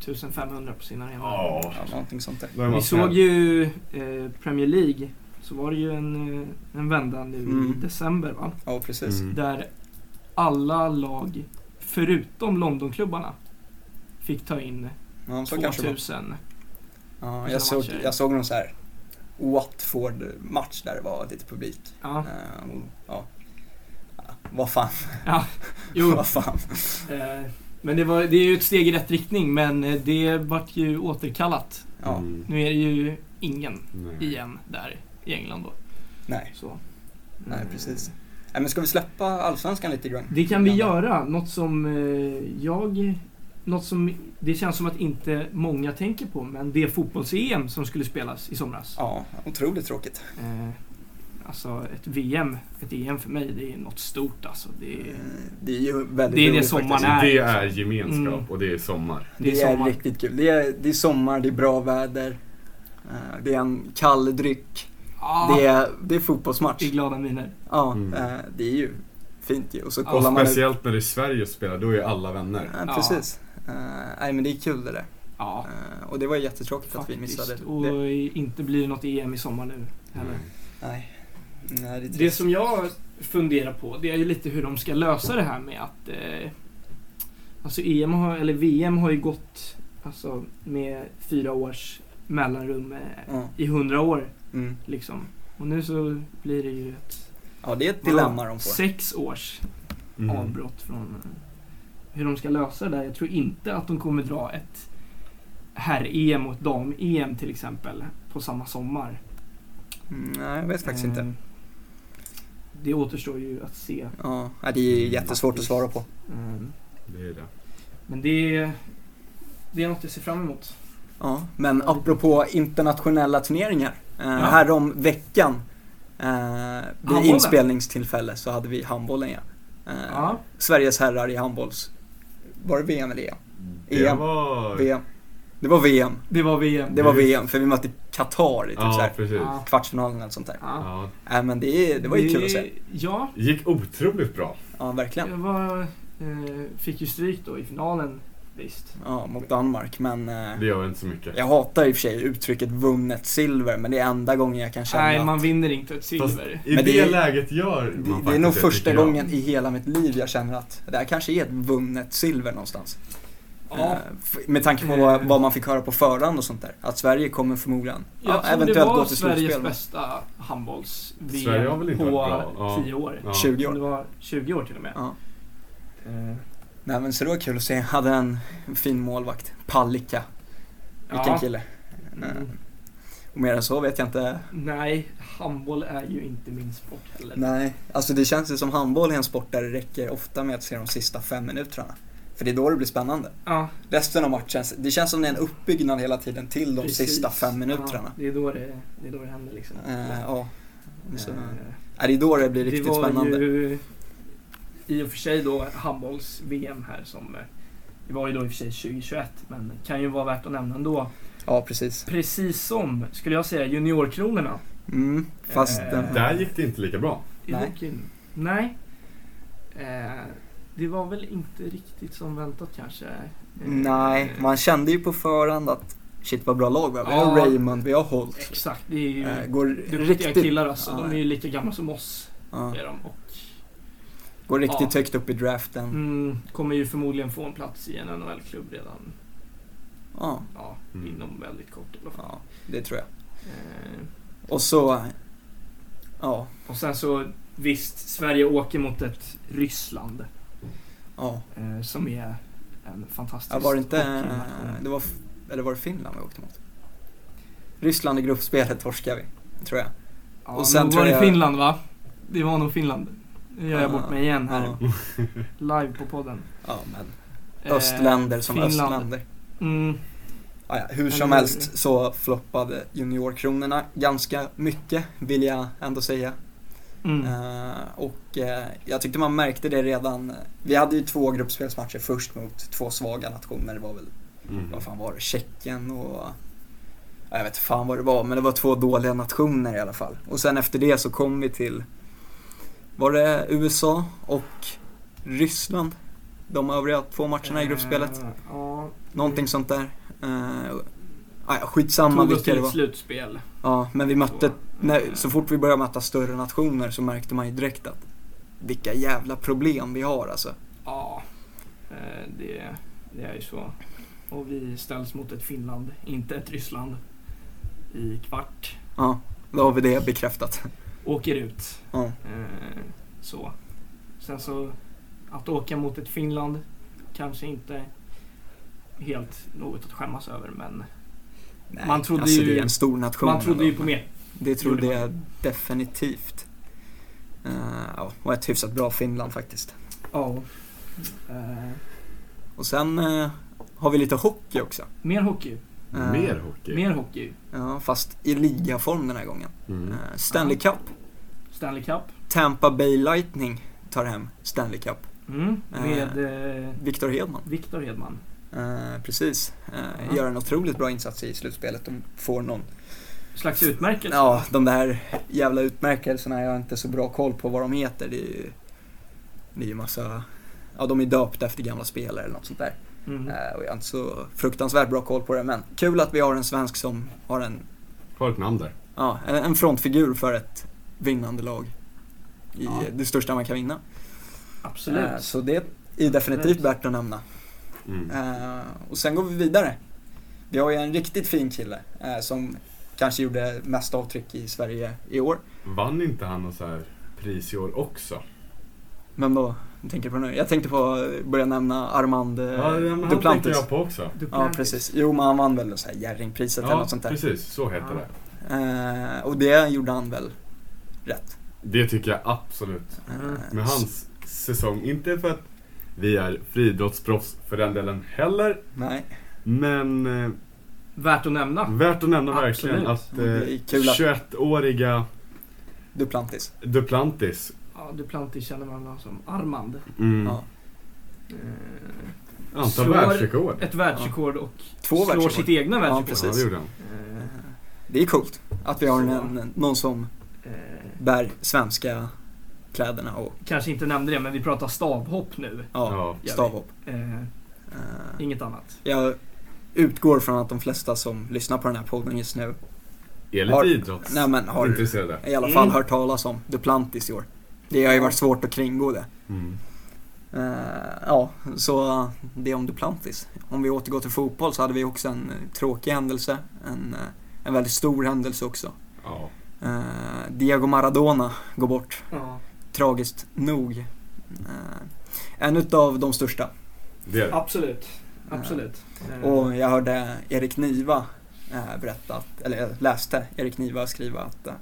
[SPEAKER 2] 1500 på sina arenor.
[SPEAKER 3] Ja.
[SPEAKER 1] ja, någonting sånt där.
[SPEAKER 3] då är man
[SPEAKER 2] Vi
[SPEAKER 3] snäll.
[SPEAKER 2] såg ju eh, Premier League, så var det ju en, eh, en vända nu i
[SPEAKER 1] Mm.
[SPEAKER 2] december va?
[SPEAKER 1] Ja, precis.
[SPEAKER 3] Mm.
[SPEAKER 2] Där alla lag, förutom Londonklubbarna, fick ta in
[SPEAKER 1] Ja, så kanske det var.
[SPEAKER 2] 2000.
[SPEAKER 1] Ja,
[SPEAKER 2] Såna
[SPEAKER 1] jag, såg,
[SPEAKER 2] matcher.
[SPEAKER 1] jag såg någon så här Watford-match där det var lite publik.
[SPEAKER 2] Ja,
[SPEAKER 1] Eh, och, ja. Ja, Vad fan.
[SPEAKER 2] jo.
[SPEAKER 1] Vad fan.
[SPEAKER 2] eh, men det, var, det är ju ett steg i rätt riktning, men eh, det vart ju återkallat.
[SPEAKER 1] Ja,
[SPEAKER 3] Mm.
[SPEAKER 2] Nu är det ju ingen
[SPEAKER 3] Nej.
[SPEAKER 2] igen där i England då.
[SPEAKER 1] nej.
[SPEAKER 2] Så.
[SPEAKER 1] Nej, precis. Nej, men ska vi släppa Allsvenskan lite grann?
[SPEAKER 2] Det kan vi göra. Något som eh, jag... Något som det känns som att inte många tänker på, men det är fotbolls-EM som skulle spelas i somras.
[SPEAKER 1] Ja, otroligt tråkigt.
[SPEAKER 2] Eh, alltså ett VM, ett EM för mig, det är något stort alltså. Det är,
[SPEAKER 1] Eh, Det är ju väldigt
[SPEAKER 2] Det är det
[SPEAKER 1] roligt
[SPEAKER 2] sommaren
[SPEAKER 1] faktiskt.
[SPEAKER 2] är.
[SPEAKER 3] Alltså, Det är gemenskap
[SPEAKER 2] Mm.
[SPEAKER 3] och det är sommar.
[SPEAKER 1] Det är,
[SPEAKER 2] Det är sommar.
[SPEAKER 1] riktigt kul. Det är, det är sommar, det är bra väder. eh, Det är en kall dryck.
[SPEAKER 2] ah,
[SPEAKER 1] Det, är, det är fotbollsmatch.
[SPEAKER 2] det är glada miner.
[SPEAKER 1] Ja,
[SPEAKER 3] Mm.
[SPEAKER 1] eh, det är ju fint ju. Och så
[SPEAKER 2] Ja,
[SPEAKER 1] kollar
[SPEAKER 3] och
[SPEAKER 1] man ut.
[SPEAKER 3] speciellt när det är Sverige som spelar, då är alla vänner.
[SPEAKER 1] Ja,
[SPEAKER 2] Ja.
[SPEAKER 1] precis. Eh, nej men det är kul det där.
[SPEAKER 2] Ja,
[SPEAKER 1] Eh, och det var ju jättetråkigt att vi missade
[SPEAKER 2] faktiskt. Och
[SPEAKER 1] det.
[SPEAKER 2] inte blir det något EM i sommar nu heller.
[SPEAKER 1] Nej. Nej, det är
[SPEAKER 2] Det
[SPEAKER 1] trist.
[SPEAKER 2] som jag funderar på, det är ju lite hur de ska lösa det här med att... Eh, alltså EM har, eller VM har ju gått alltså, med fyra års mellanrum eh,
[SPEAKER 1] Ja,
[SPEAKER 2] i hundra år.
[SPEAKER 1] mm.
[SPEAKER 2] Liksom. Och nu så blir det ju ett
[SPEAKER 1] ja, det är ett dilemma de får.
[SPEAKER 2] sex års
[SPEAKER 3] Mm.
[SPEAKER 2] avbrott från eh, hur de ska lösa det där. Jag tror inte att de kommer dra ett herr-EM och ett dam-EM till exempel på samma sommar.
[SPEAKER 1] Mm, nej, jag vet faktiskt inte.
[SPEAKER 2] Eh, Det återstår ju att se.
[SPEAKER 1] Ja, nej, det är jättesvårt att svara på.
[SPEAKER 2] Eh,
[SPEAKER 3] Mm. Det är det.
[SPEAKER 2] Men det är, det är något jag ser fram emot.
[SPEAKER 1] Ja, men apropå internationella turneringar. Eh, Här om veckan eh, vid
[SPEAKER 2] Handbollen.
[SPEAKER 1] inspelningstillfälle så hade vi handbollen ja. Eh,
[SPEAKER 2] Ja.
[SPEAKER 1] Sveriges herrar i handbolls... Var det VM eller E EM?
[SPEAKER 3] Det
[SPEAKER 1] EM.
[SPEAKER 3] var...
[SPEAKER 1] VM. Det var VM.
[SPEAKER 2] Det var VM.
[SPEAKER 1] Det var
[SPEAKER 3] Just.
[SPEAKER 1] VM, för vi mötte Qatar i typ så
[SPEAKER 3] Ja,
[SPEAKER 1] här,
[SPEAKER 3] precis.
[SPEAKER 2] Ja.
[SPEAKER 1] kvartsfinalen eller sånt där.
[SPEAKER 2] Ja.
[SPEAKER 3] Ja.
[SPEAKER 1] Nej men det, det var ju kul att se.
[SPEAKER 2] Ja,
[SPEAKER 3] gick otroligt bra.
[SPEAKER 1] Ja, verkligen.
[SPEAKER 2] jag var, eh, fick ju stryk då i finalen. Visst.
[SPEAKER 1] Ja, mot Danmark, men... eh,
[SPEAKER 3] Det gör inte så mycket.
[SPEAKER 1] Jag hatar i och för sig uttrycket vunnet silver, men det är enda gången jag kan känna
[SPEAKER 2] Nej,
[SPEAKER 1] att-
[SPEAKER 2] man vinner inte ett
[SPEAKER 3] Fast
[SPEAKER 2] silver.
[SPEAKER 3] i det,
[SPEAKER 1] Men det är-
[SPEAKER 3] läget gör man
[SPEAKER 1] Det, det är
[SPEAKER 3] faktiskt
[SPEAKER 1] nog
[SPEAKER 3] det,
[SPEAKER 1] första
[SPEAKER 3] tycker jag.
[SPEAKER 1] gången i hela mitt liv jag känner att det här kanske är ett vunnet silver någonstans. Eh,
[SPEAKER 2] Ja,
[SPEAKER 1] f- Med tanke på
[SPEAKER 2] Eh.
[SPEAKER 1] vad, vad man fick höra på förhand och sånt där. Att Sverige kommer förmodligen,
[SPEAKER 2] jag
[SPEAKER 1] ja,
[SPEAKER 2] tror
[SPEAKER 1] eventuellt
[SPEAKER 2] det var
[SPEAKER 1] gå till slutspel
[SPEAKER 2] Sveriges
[SPEAKER 1] med
[SPEAKER 2] bästa
[SPEAKER 3] Sverige har väl
[SPEAKER 2] handbolls-VM
[SPEAKER 3] inte
[SPEAKER 2] på
[SPEAKER 3] varit bra. Ja.
[SPEAKER 2] 10 år.
[SPEAKER 3] Ja.
[SPEAKER 1] 20
[SPEAKER 2] Det
[SPEAKER 1] år.
[SPEAKER 2] var 20 år till och med.
[SPEAKER 1] Ja.
[SPEAKER 2] Eh,
[SPEAKER 1] Nej men så det var kul att se. Jag hade en fin målvakt, Palicka. Vilken
[SPEAKER 2] ja.
[SPEAKER 1] kille. Eh,
[SPEAKER 2] Mm.
[SPEAKER 1] Och mer än så vet jag inte.
[SPEAKER 2] Nej, handboll är ju inte min sport heller.
[SPEAKER 1] Nej, alltså det känns ju som handboll är en sport där det räcker ofta med att se de sista fem minuterna. För det är då det blir spännande.
[SPEAKER 2] Ja,
[SPEAKER 1] Resten av matchen, det känns som det är en uppbyggnad hela tiden till de
[SPEAKER 2] precis.
[SPEAKER 1] sista fem
[SPEAKER 2] Ja,
[SPEAKER 1] minuterna.
[SPEAKER 2] det, är då det, det är då det händer liksom.
[SPEAKER 1] Eh, ja. Så,
[SPEAKER 2] Eh,
[SPEAKER 1] är det är då det blir riktigt
[SPEAKER 2] det var
[SPEAKER 1] spännande.
[SPEAKER 2] ju i och för sig då handbolls-VM här som eh, det var ju då i och för sig 2021, men kan ju vara värt att nämna ändå.
[SPEAKER 1] Ja, precis.
[SPEAKER 2] Precis som, skulle jag säga, juniorkronorna.
[SPEAKER 1] Mm, fast...
[SPEAKER 2] Eh,
[SPEAKER 1] eh,
[SPEAKER 3] Där gick det inte lika bra.
[SPEAKER 2] i
[SPEAKER 1] Nej.
[SPEAKER 2] hockeyn. Nej. Eh, det var väl inte riktigt som väntat kanske. Eh,
[SPEAKER 1] nej, man kände ju på förhand att shit vad bra lag vi har. Vi har
[SPEAKER 2] Ja.
[SPEAKER 1] Raymond, vi har Holt.
[SPEAKER 2] Exakt, det är ju
[SPEAKER 1] Eh, går
[SPEAKER 2] duktiga
[SPEAKER 1] riktigt,
[SPEAKER 2] killar alltså.
[SPEAKER 1] Ja.
[SPEAKER 2] De är ju lika gamla som oss.
[SPEAKER 1] ja,
[SPEAKER 2] Är de. Och,
[SPEAKER 1] går riktigt
[SPEAKER 2] Ja.
[SPEAKER 1] högt upp i draften.
[SPEAKER 2] mm, kommer ju förmodligen få en plats i en NHL-klubb redan
[SPEAKER 1] Ja,
[SPEAKER 2] ja,
[SPEAKER 3] Mm.
[SPEAKER 2] inom väldigt kort i alla fall.
[SPEAKER 1] ja, det tror jag.
[SPEAKER 2] Eh,
[SPEAKER 1] Och så... Ja,
[SPEAKER 2] och sen så Visst, Sverige åker mot ett Ryssland
[SPEAKER 1] Ja,
[SPEAKER 2] eh, som är en fantastisk
[SPEAKER 1] ja var det inte... eh,
[SPEAKER 2] hockeynation.
[SPEAKER 1] Det var, f- eller var det Finland vi åkte mot? Ryssland i gruppspelet torskar vi, tror jag.
[SPEAKER 2] Ja,
[SPEAKER 1] och sen
[SPEAKER 2] nog
[SPEAKER 1] tror
[SPEAKER 2] var det
[SPEAKER 1] jag-
[SPEAKER 2] Finland va? Det var nog Finland. Nu gör jag
[SPEAKER 1] Ja,
[SPEAKER 2] bort mig igen här.
[SPEAKER 1] Ja,
[SPEAKER 2] Live på podden.
[SPEAKER 1] ja men
[SPEAKER 2] Eh,
[SPEAKER 1] östländer som
[SPEAKER 2] Finland.
[SPEAKER 1] östländer. Ah,
[SPEAKER 2] Mm,
[SPEAKER 1] Ja, ja, hur
[SPEAKER 2] Eller
[SPEAKER 1] som
[SPEAKER 2] hur?
[SPEAKER 1] helst så floppade juniorkronorna ganska mycket, vill jag ändå säga.
[SPEAKER 2] mm.
[SPEAKER 1] Eh, och eh, jag tyckte man märkte det redan. Vi hade ju två gruppspelsmatcher först mot två svaga nationer. Det var väl,
[SPEAKER 3] Mm.
[SPEAKER 1] vad fan var det, Tjeckien och... ja, Jag vet inte fan vad det var, men det var två dåliga nationer i alla fall. Och sen efter det så kom vi till, var det USA och Ryssland? De övriga två matcherna i gruppspelet.
[SPEAKER 2] Eh, Ja,
[SPEAKER 1] Någonting sånt där. Uh, ja, skitsamma
[SPEAKER 2] tog oss
[SPEAKER 1] vilka
[SPEAKER 2] till
[SPEAKER 1] det
[SPEAKER 2] ett
[SPEAKER 1] var.
[SPEAKER 2] slutspel.
[SPEAKER 1] Ja, men vi mötte,
[SPEAKER 2] Så,
[SPEAKER 1] när, så fort vi började möta större nationer så märkte man ju direkt att vilka jävla problem vi har alltså.
[SPEAKER 2] Ja, eh, det, det är ju så. Och vi ställs mot ett Finland, inte ett Ryssland, i kvart.
[SPEAKER 1] Ja, då har vi det bekräftat.
[SPEAKER 2] Åker ut.
[SPEAKER 1] Ja.
[SPEAKER 2] Eh, Så. Sen så, att åka mot ett Finland kanske inte helt något att skämmas över, men
[SPEAKER 1] Nej,
[SPEAKER 2] Man trodde
[SPEAKER 1] alltså
[SPEAKER 2] ju-
[SPEAKER 1] det är en stor nation.
[SPEAKER 2] man trodde ju
[SPEAKER 1] ändå.
[SPEAKER 2] på mer.
[SPEAKER 1] Det trodde
[SPEAKER 2] Gjorde man.
[SPEAKER 1] jag definitivt. Eh, ja, och ett hyfsat bra Finland faktiskt.
[SPEAKER 2] Ja. Eh,
[SPEAKER 1] Och sen eh, har vi lite hockey också.
[SPEAKER 2] Mer hockey.
[SPEAKER 1] Eh,
[SPEAKER 3] Mer hockey.
[SPEAKER 2] Mer hockey.
[SPEAKER 1] Ja, fast i ligaform den här gången.
[SPEAKER 3] Mm.
[SPEAKER 1] Eh, Stanley Cup.
[SPEAKER 2] Stanley Cup.
[SPEAKER 1] Tampa Bay Lightning tar hem Stanley Cup.
[SPEAKER 2] Mm. Med eh,
[SPEAKER 1] Viktor Hedman.
[SPEAKER 2] Viktor Hedman.
[SPEAKER 1] Eh, precis. Eh,
[SPEAKER 2] Ja.
[SPEAKER 1] Gör en otroligt bra insats i slutspelet. De får någon...
[SPEAKER 2] Slags utmärkelse.
[SPEAKER 1] Ja, de där jävla utmärkelserna. Jag har inte så bra koll på vad de heter. Det är ju, det är ju massa... Ja, de är döpta efter gamla spelare eller något sånt där.
[SPEAKER 2] Mm.
[SPEAKER 1] Eh, och jag har inte så fruktansvärt bra koll på det, men kul att vi har en svensk som har en,
[SPEAKER 3] Har ett namn där.
[SPEAKER 1] ja, en- en frontfigur för ett vinnande lag. I
[SPEAKER 2] Ja.
[SPEAKER 1] det största man kan vinna.
[SPEAKER 2] Absolut.
[SPEAKER 1] Eh, så det är definitivt
[SPEAKER 2] Absolut.
[SPEAKER 1] värt att nämna.
[SPEAKER 3] Mm.
[SPEAKER 1] Eh, och sen går vi vidare. Vi har ju en riktigt fin kille eh, som kanske gjorde mest avtryck i Sverige i år.
[SPEAKER 3] Vann inte han något så här pris i år också?
[SPEAKER 1] Men då, jag tänker på nu. Jag tänkte på att börja nämna Armand eh,
[SPEAKER 3] Ja, men han tänkte
[SPEAKER 1] Duplantis.
[SPEAKER 3] jag på också.
[SPEAKER 1] Ja,
[SPEAKER 2] Duplantis.
[SPEAKER 1] precis. Jo, men han vann väl så här Jerringpriset eller
[SPEAKER 3] Ja,
[SPEAKER 1] något sånt där.
[SPEAKER 3] precis. Så heter
[SPEAKER 2] Ja.
[SPEAKER 3] det.
[SPEAKER 1] Eh, och det gjorde han väl rätt.
[SPEAKER 3] Det tycker jag absolut.
[SPEAKER 1] Eh,
[SPEAKER 2] Mm.
[SPEAKER 3] Med hans säsong. Inte för att vi är friidrottsproffs för den delen heller.
[SPEAKER 1] Nej,
[SPEAKER 3] Men eh,
[SPEAKER 2] Värt att nämna.
[SPEAKER 3] värt att nämna
[SPEAKER 2] Absolut.
[SPEAKER 3] verkligen att
[SPEAKER 1] Det är
[SPEAKER 3] eh,
[SPEAKER 1] kul att-
[SPEAKER 3] 21-åriga
[SPEAKER 1] Duplantis.
[SPEAKER 3] Duplantis.
[SPEAKER 2] Ja, Duplantis känner man väl som Armand.
[SPEAKER 3] Mm,
[SPEAKER 1] Ja. Mm.
[SPEAKER 2] Eh,
[SPEAKER 3] Han tar
[SPEAKER 2] Slår-
[SPEAKER 3] världsrekord.
[SPEAKER 2] ett världsrekord och
[SPEAKER 1] Två
[SPEAKER 2] slår
[SPEAKER 1] världsrekord.
[SPEAKER 2] sitt egna världsrekord.
[SPEAKER 1] precis.
[SPEAKER 3] Ja, det gjorde han.
[SPEAKER 2] Eh,
[SPEAKER 1] Det är coolt att vi har
[SPEAKER 2] Så.
[SPEAKER 1] en, en, någon som
[SPEAKER 2] eh,
[SPEAKER 1] bär svenska kläderna och
[SPEAKER 2] kanske inte nämnde det, men vi pratar stavhopp nu.
[SPEAKER 1] ja,
[SPEAKER 3] Ja.
[SPEAKER 2] gör vi.
[SPEAKER 1] stavhopp.
[SPEAKER 2] Eh,
[SPEAKER 1] Eh,
[SPEAKER 2] inget annat.
[SPEAKER 1] Jag utgår från att de flesta som lyssnar på den här podden just nu
[SPEAKER 3] Är
[SPEAKER 1] Har-
[SPEAKER 3] lite idrotts...
[SPEAKER 1] nej, men har
[SPEAKER 3] Intresserade.
[SPEAKER 1] i alla fall
[SPEAKER 2] Mm.
[SPEAKER 1] hört talas om Duplantis i år. Det har ju varit svårt att kringgå det.
[SPEAKER 3] Mm.
[SPEAKER 1] Eh, ja, så eh, det om Duplantis. Om vi återgår till fotboll så hade vi också en eh, tråkig händelse. En, eh, en väldigt stor händelse också.
[SPEAKER 3] Ja.
[SPEAKER 1] Eh, Diego Maradona går bort,
[SPEAKER 2] Ja,
[SPEAKER 1] tragiskt nog. Eh, en utav de största.
[SPEAKER 3] Det är det.
[SPEAKER 2] absolut. Absolut. Eh,
[SPEAKER 1] Och jag hörde Erik Niva eh, berätta, att, eller jag läste Erik Niva skriva att eh,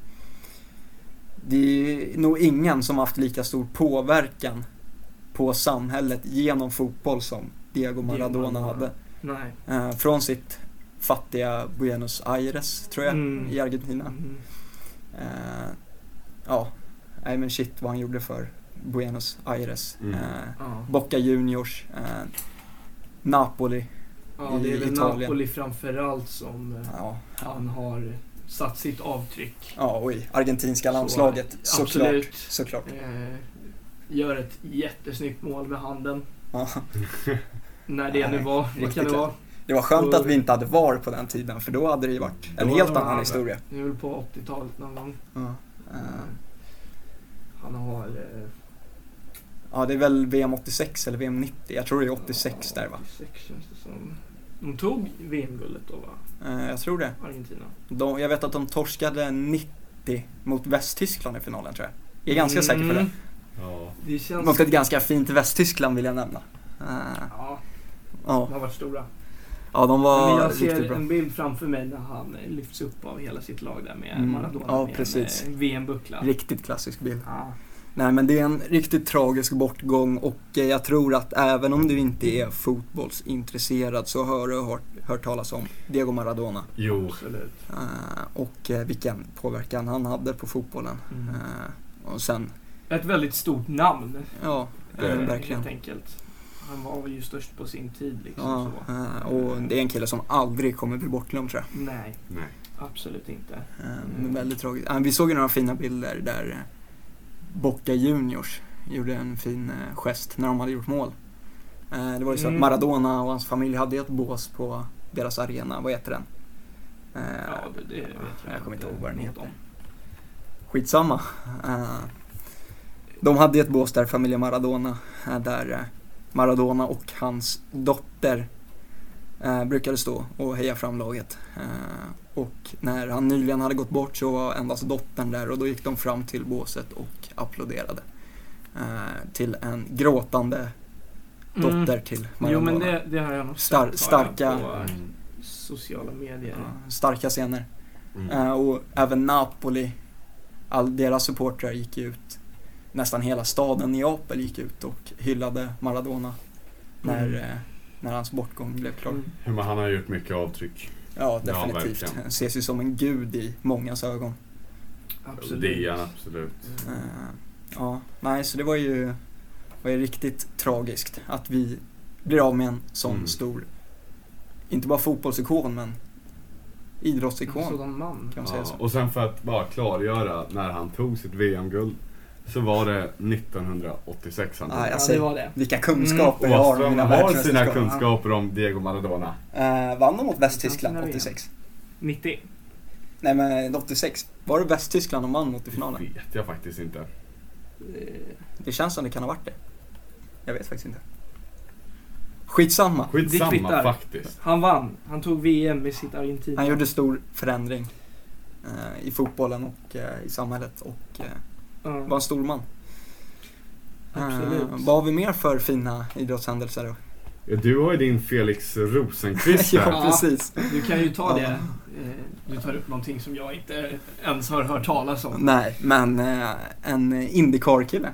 [SPEAKER 1] det är nog ingen som haft lika stor påverkan på samhället genom fotboll som Diego Maradona hade.
[SPEAKER 2] nej.
[SPEAKER 1] Eh, Från sitt fattiga Buenos Aires, tror jag,
[SPEAKER 2] Mm.
[SPEAKER 1] i Argentina.
[SPEAKER 2] Mm.
[SPEAKER 1] Eh, Ja, nej men shit vad han gjorde för Buenos Aires.
[SPEAKER 3] Mm.
[SPEAKER 1] Eh,
[SPEAKER 2] Ja.
[SPEAKER 1] Boca Juniors, eh, Napoli.
[SPEAKER 2] ja, det är väl
[SPEAKER 1] Italien.
[SPEAKER 2] Napoli framförallt som eh,
[SPEAKER 1] Ja,
[SPEAKER 2] han har satt sitt avtryck.
[SPEAKER 1] Ja, och i argentinska
[SPEAKER 2] Så, eh,
[SPEAKER 1] landslaget såklart.
[SPEAKER 2] absolut.
[SPEAKER 1] såklart.
[SPEAKER 2] Eh, gör ett jättesnyggt mål med handen.
[SPEAKER 1] Ja,
[SPEAKER 2] När det nu
[SPEAKER 1] Nej,
[SPEAKER 2] var. Vad
[SPEAKER 1] riktigt
[SPEAKER 2] kan det
[SPEAKER 1] lätt.
[SPEAKER 2] vara?
[SPEAKER 1] det var skönt att vi inte hade VAR på den tiden för då hade det ju varit en
[SPEAKER 3] Då
[SPEAKER 1] helt
[SPEAKER 2] var det
[SPEAKER 1] annan
[SPEAKER 2] annorlunda.
[SPEAKER 1] historia.
[SPEAKER 2] Det är väl på 80-talet någon gång.
[SPEAKER 1] Ja, eh,
[SPEAKER 2] Han har... Eh,
[SPEAKER 1] ja, det är väl VM 86 eller VM 90. Jag tror det är 86 där va?
[SPEAKER 2] 86 känns det som. De tog VM-guldet då va?
[SPEAKER 1] Eh, Jag tror det.
[SPEAKER 2] Argentina.
[SPEAKER 1] De, jag vet att de torskade 90 mot Västtyskland i finalen tror jag. Jag är ganska säker på det.
[SPEAKER 2] Mm,
[SPEAKER 3] Ja.
[SPEAKER 2] Det känns...
[SPEAKER 1] Också ett ganska fint Västtyskland vill jag nämna. Eh,
[SPEAKER 2] Ja,
[SPEAKER 1] Ja,
[SPEAKER 2] de har varit stora.
[SPEAKER 1] ja de
[SPEAKER 2] Men
[SPEAKER 1] var
[SPEAKER 2] jag
[SPEAKER 1] riktigt
[SPEAKER 2] ser
[SPEAKER 1] bra.
[SPEAKER 2] en bild framför mig när han eh, lyfts upp av hela sitt lag där med
[SPEAKER 1] Mm.
[SPEAKER 2] Maradona
[SPEAKER 1] Ja,
[SPEAKER 2] med
[SPEAKER 1] precis.
[SPEAKER 2] en eh, VM-buckla.
[SPEAKER 1] Riktigt klassisk bild.
[SPEAKER 2] Ja.
[SPEAKER 1] Nej men det är en riktigt tragisk bortgång och eh, jag tror att även om du inte är fotbollsintresserad så har du hört, hört talas om Diego Maradona.
[SPEAKER 3] Jo.
[SPEAKER 2] Absolut.
[SPEAKER 1] Eh, och eh, vilken påverkan han hade på fotbollen.
[SPEAKER 2] Mm.
[SPEAKER 1] Eh, och sen,
[SPEAKER 2] Ett väldigt stort namn.
[SPEAKER 1] ja,
[SPEAKER 3] Det är
[SPEAKER 1] eh,
[SPEAKER 3] det.
[SPEAKER 1] verkligen.
[SPEAKER 2] Helt enkelt. Han var ju störst på sin tid liksom.
[SPEAKER 1] Ja,
[SPEAKER 2] Så.
[SPEAKER 1] eh, och det är en kille som aldrig kommer bli bortglömd tror jag.
[SPEAKER 2] Nej,
[SPEAKER 3] Nej.
[SPEAKER 2] absolut inte.
[SPEAKER 1] Eh,
[SPEAKER 2] Mm.
[SPEAKER 1] Men väldigt tragiskt. Eh, Vi såg ju några fina bilder där eh, Boca Juniors gjorde en fin eh, gest när de hade gjort mål. Eh, Det var ju så
[SPEAKER 2] Mm.
[SPEAKER 1] att Maradona och hans familj hade ett bås på deras arena, vad heter den? Eh,
[SPEAKER 2] Ja, det, det vet jag.
[SPEAKER 1] jag kommer inte ihåg vad den
[SPEAKER 2] något
[SPEAKER 1] heter.
[SPEAKER 2] om.
[SPEAKER 1] Skitsamma. Eh, De hade ett bås där, familjen Maradona, eh, där eh, Maradona och hans dotter eh, brukade stå och heja fram laget. Eh, Och när han nyligen hade gått bort så var endast dottern där och då gick de fram till båset och applåderade. eh, Till en gråtande dotter
[SPEAKER 2] Mm.
[SPEAKER 1] till
[SPEAKER 2] Jo,
[SPEAKER 1] Maradona.
[SPEAKER 2] men det, det har jag nog
[SPEAKER 1] Star-
[SPEAKER 2] sett, har jag,
[SPEAKER 1] starka-
[SPEAKER 2] På
[SPEAKER 3] Mm.
[SPEAKER 2] sociala medier.
[SPEAKER 1] Ja, Starka scener.
[SPEAKER 3] Mm.
[SPEAKER 1] Eh, Och även Napoli, all deras supportrar gick ut, nästan hela staden Neapel gick ut och hyllade Maradona när,
[SPEAKER 2] Mm.
[SPEAKER 1] eh, när hans bortgång blev klar.
[SPEAKER 2] Mm.
[SPEAKER 3] Men han har gjort mycket avtryck.
[SPEAKER 1] Ja,
[SPEAKER 3] Ja,
[SPEAKER 1] definitivt.
[SPEAKER 3] verkligen.
[SPEAKER 1] Han ses ju som en gud i mångas ögon.
[SPEAKER 2] Absolut.
[SPEAKER 3] Det är han absolut.
[SPEAKER 1] Eh,
[SPEAKER 2] Mm.
[SPEAKER 1] Ja, nej, så det var ju, var ju riktigt tragiskt att vi blir av med en sån
[SPEAKER 3] Mm.
[SPEAKER 1] stor, inte bara fotbollsikon, men
[SPEAKER 2] En
[SPEAKER 1] idrottsikon.
[SPEAKER 2] sådan man.
[SPEAKER 1] Kan man säga
[SPEAKER 3] Ja.
[SPEAKER 1] så?
[SPEAKER 3] Och sen för att bara klargöra, när han tog sitt VM-guld så var det 1986 han tog.
[SPEAKER 1] Ah, jag
[SPEAKER 2] Ja, det
[SPEAKER 1] säger-
[SPEAKER 2] var det.
[SPEAKER 1] Vilka
[SPEAKER 3] Och
[SPEAKER 1] kunskaper
[SPEAKER 2] Mm.
[SPEAKER 1] jag har om
[SPEAKER 3] Wasström
[SPEAKER 1] mina
[SPEAKER 3] har sina
[SPEAKER 1] världsmästerskap.
[SPEAKER 3] kunskaper om Diego Maradona.
[SPEAKER 1] Eh, vann de mot Västtyskland
[SPEAKER 2] Kanske när vi
[SPEAKER 1] 86?
[SPEAKER 2] 90.
[SPEAKER 1] Nej men 86. Var det Västtyskland de vann mot i finalen?
[SPEAKER 3] Det vet jag faktiskt inte.
[SPEAKER 2] Eh,
[SPEAKER 1] Det känns som det kan ha varit det. Jag vet faktiskt inte. Skitsamma.
[SPEAKER 2] Det kvittar.
[SPEAKER 3] Skitsamma faktiskt.
[SPEAKER 2] Han vann. Han tog VM med sitt Argentina.
[SPEAKER 1] Han gjorde stor förändring eh, i fotbollen och eh, i samhället och eh,
[SPEAKER 2] Ja,
[SPEAKER 1] var en stor man. Eh,
[SPEAKER 2] Absolut.
[SPEAKER 1] vad har vi mer för fina idrottshändelser då?
[SPEAKER 3] Du har ju din Felix Rosenqvist här.
[SPEAKER 1] ja, precis.
[SPEAKER 2] Du kan ju ta
[SPEAKER 1] Ja.
[SPEAKER 2] det. Eh, Du tar upp någonting som jag inte ens har hört talas om.
[SPEAKER 1] Nej, men eh, en Indycar-kille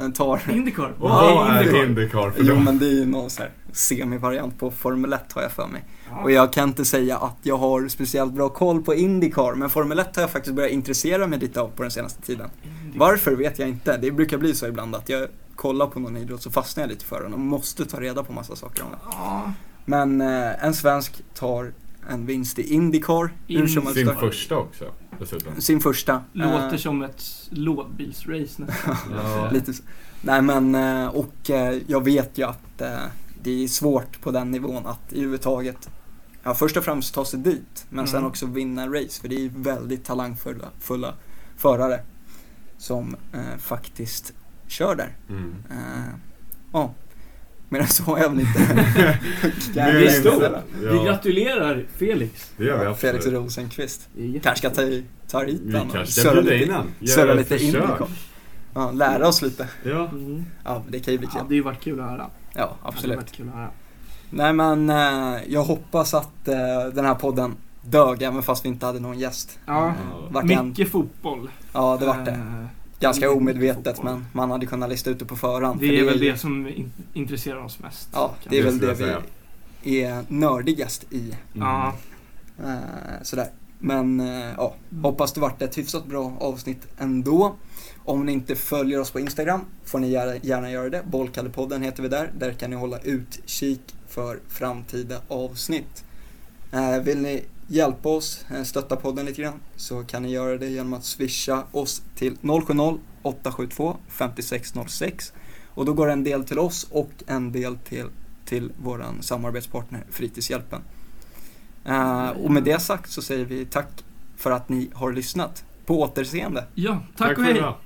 [SPEAKER 1] eh, tar...
[SPEAKER 2] Indycar.
[SPEAKER 3] Och
[SPEAKER 1] Ja,
[SPEAKER 3] vad är
[SPEAKER 1] Indycar.
[SPEAKER 3] Indycar för
[SPEAKER 1] Jo
[SPEAKER 3] dem?
[SPEAKER 1] men det är ju någon så här semivariant på Formel 1 har jag för mig.
[SPEAKER 2] Ja.
[SPEAKER 1] Och jag kan inte säga att jag har speciellt bra koll på Indycar, men Formel 1 har jag faktiskt börjat intressera mig lite av på den senaste tiden.
[SPEAKER 2] Indycar.
[SPEAKER 1] Varför vet jag inte. Det brukar bli så ibland att jag kollar på någon idrott så fastnar jag lite för den och måste ta reda på massa saker om den.
[SPEAKER 2] Ja.
[SPEAKER 1] Men eh, en svensk tar en vinst i Indycar. Hur som helst.
[SPEAKER 3] Sin första också, dessutom.
[SPEAKER 1] Sin första.
[SPEAKER 2] Låter
[SPEAKER 1] Eh,
[SPEAKER 2] som ett lådbilsrace nästan. skulle jag
[SPEAKER 3] Ja.
[SPEAKER 2] säga.
[SPEAKER 1] Lite så. Nej men, eh, och eh, jag vet ju att eh, det är svårt på den nivån att i överhuvudtaget ja, först och främst ta sig dit, men sen
[SPEAKER 2] Mm.
[SPEAKER 1] också vinna race, för det är ju väldigt talangfulla fulla förare som eh, faktiskt kör där.
[SPEAKER 3] Mm.
[SPEAKER 1] Eh, Ja, men det så har jag väl inte.
[SPEAKER 3] Men-
[SPEAKER 2] det är stort. Vi
[SPEAKER 3] Ja,
[SPEAKER 2] gratulerar Felix.
[SPEAKER 3] det gör vi absolut.
[SPEAKER 1] Felix Rosenqvist.
[SPEAKER 2] Det är jätte-
[SPEAKER 1] Kanske ska ta, ta hit
[SPEAKER 3] Vi
[SPEAKER 1] honom.
[SPEAKER 3] kanske ska bjuda in
[SPEAKER 1] lite,
[SPEAKER 3] han. Göra
[SPEAKER 1] söra
[SPEAKER 3] ett
[SPEAKER 1] lite
[SPEAKER 3] försök.
[SPEAKER 1] Indycar. Ja, lära oss lite.
[SPEAKER 3] Ja.
[SPEAKER 2] Mm.
[SPEAKER 1] Ja, det kan ju bli
[SPEAKER 2] Det
[SPEAKER 1] kul.
[SPEAKER 2] hade ju varit kul att höra.
[SPEAKER 1] Ja, absolut.
[SPEAKER 2] Det hade varit kul att höra.
[SPEAKER 1] Nej men eh, jag hoppas att eh, den här podden dög även fast vi inte hade någon gäst.
[SPEAKER 2] Ja.
[SPEAKER 1] Eh,
[SPEAKER 3] Ja.
[SPEAKER 1] Vart en,
[SPEAKER 2] Mycket fotboll.
[SPEAKER 1] ja det vart det.
[SPEAKER 2] Eh,
[SPEAKER 1] Ganska
[SPEAKER 2] mycket
[SPEAKER 1] omedvetet
[SPEAKER 2] fotboll.
[SPEAKER 1] men man hade kunnat lista ut det på förhand.
[SPEAKER 2] Det
[SPEAKER 1] för
[SPEAKER 2] är väl
[SPEAKER 1] ju-
[SPEAKER 2] det som in- intresserar oss mest.
[SPEAKER 1] Ja,
[SPEAKER 2] kanske.
[SPEAKER 1] det är väl
[SPEAKER 3] skulle
[SPEAKER 1] det
[SPEAKER 3] jag säga.
[SPEAKER 1] vi är nördigast i.
[SPEAKER 2] Ja,
[SPEAKER 1] Eh, sådär. Men eh, ja, hoppas det vart ett hyfsat bra avsnitt ändå. Om ni inte följer oss på Instagram får ni gärna, gärna göra det. Bollkallepodden heter vi där. Där kan ni hålla utkik för framtida avsnitt. Eh, vill ni hjälpa oss, eh, stötta podden lite grann, så kan ni göra det genom att swisha oss till 070-872 5606. Och då går en del till oss och en del till, till vår samarbetspartner Fritidshjälpen. Eh, och med det sagt så säger vi tack för att ni har lyssnat. På återseende!
[SPEAKER 2] ja tack,
[SPEAKER 3] Tack
[SPEAKER 2] och
[SPEAKER 3] för
[SPEAKER 2] hej.
[SPEAKER 3] idag.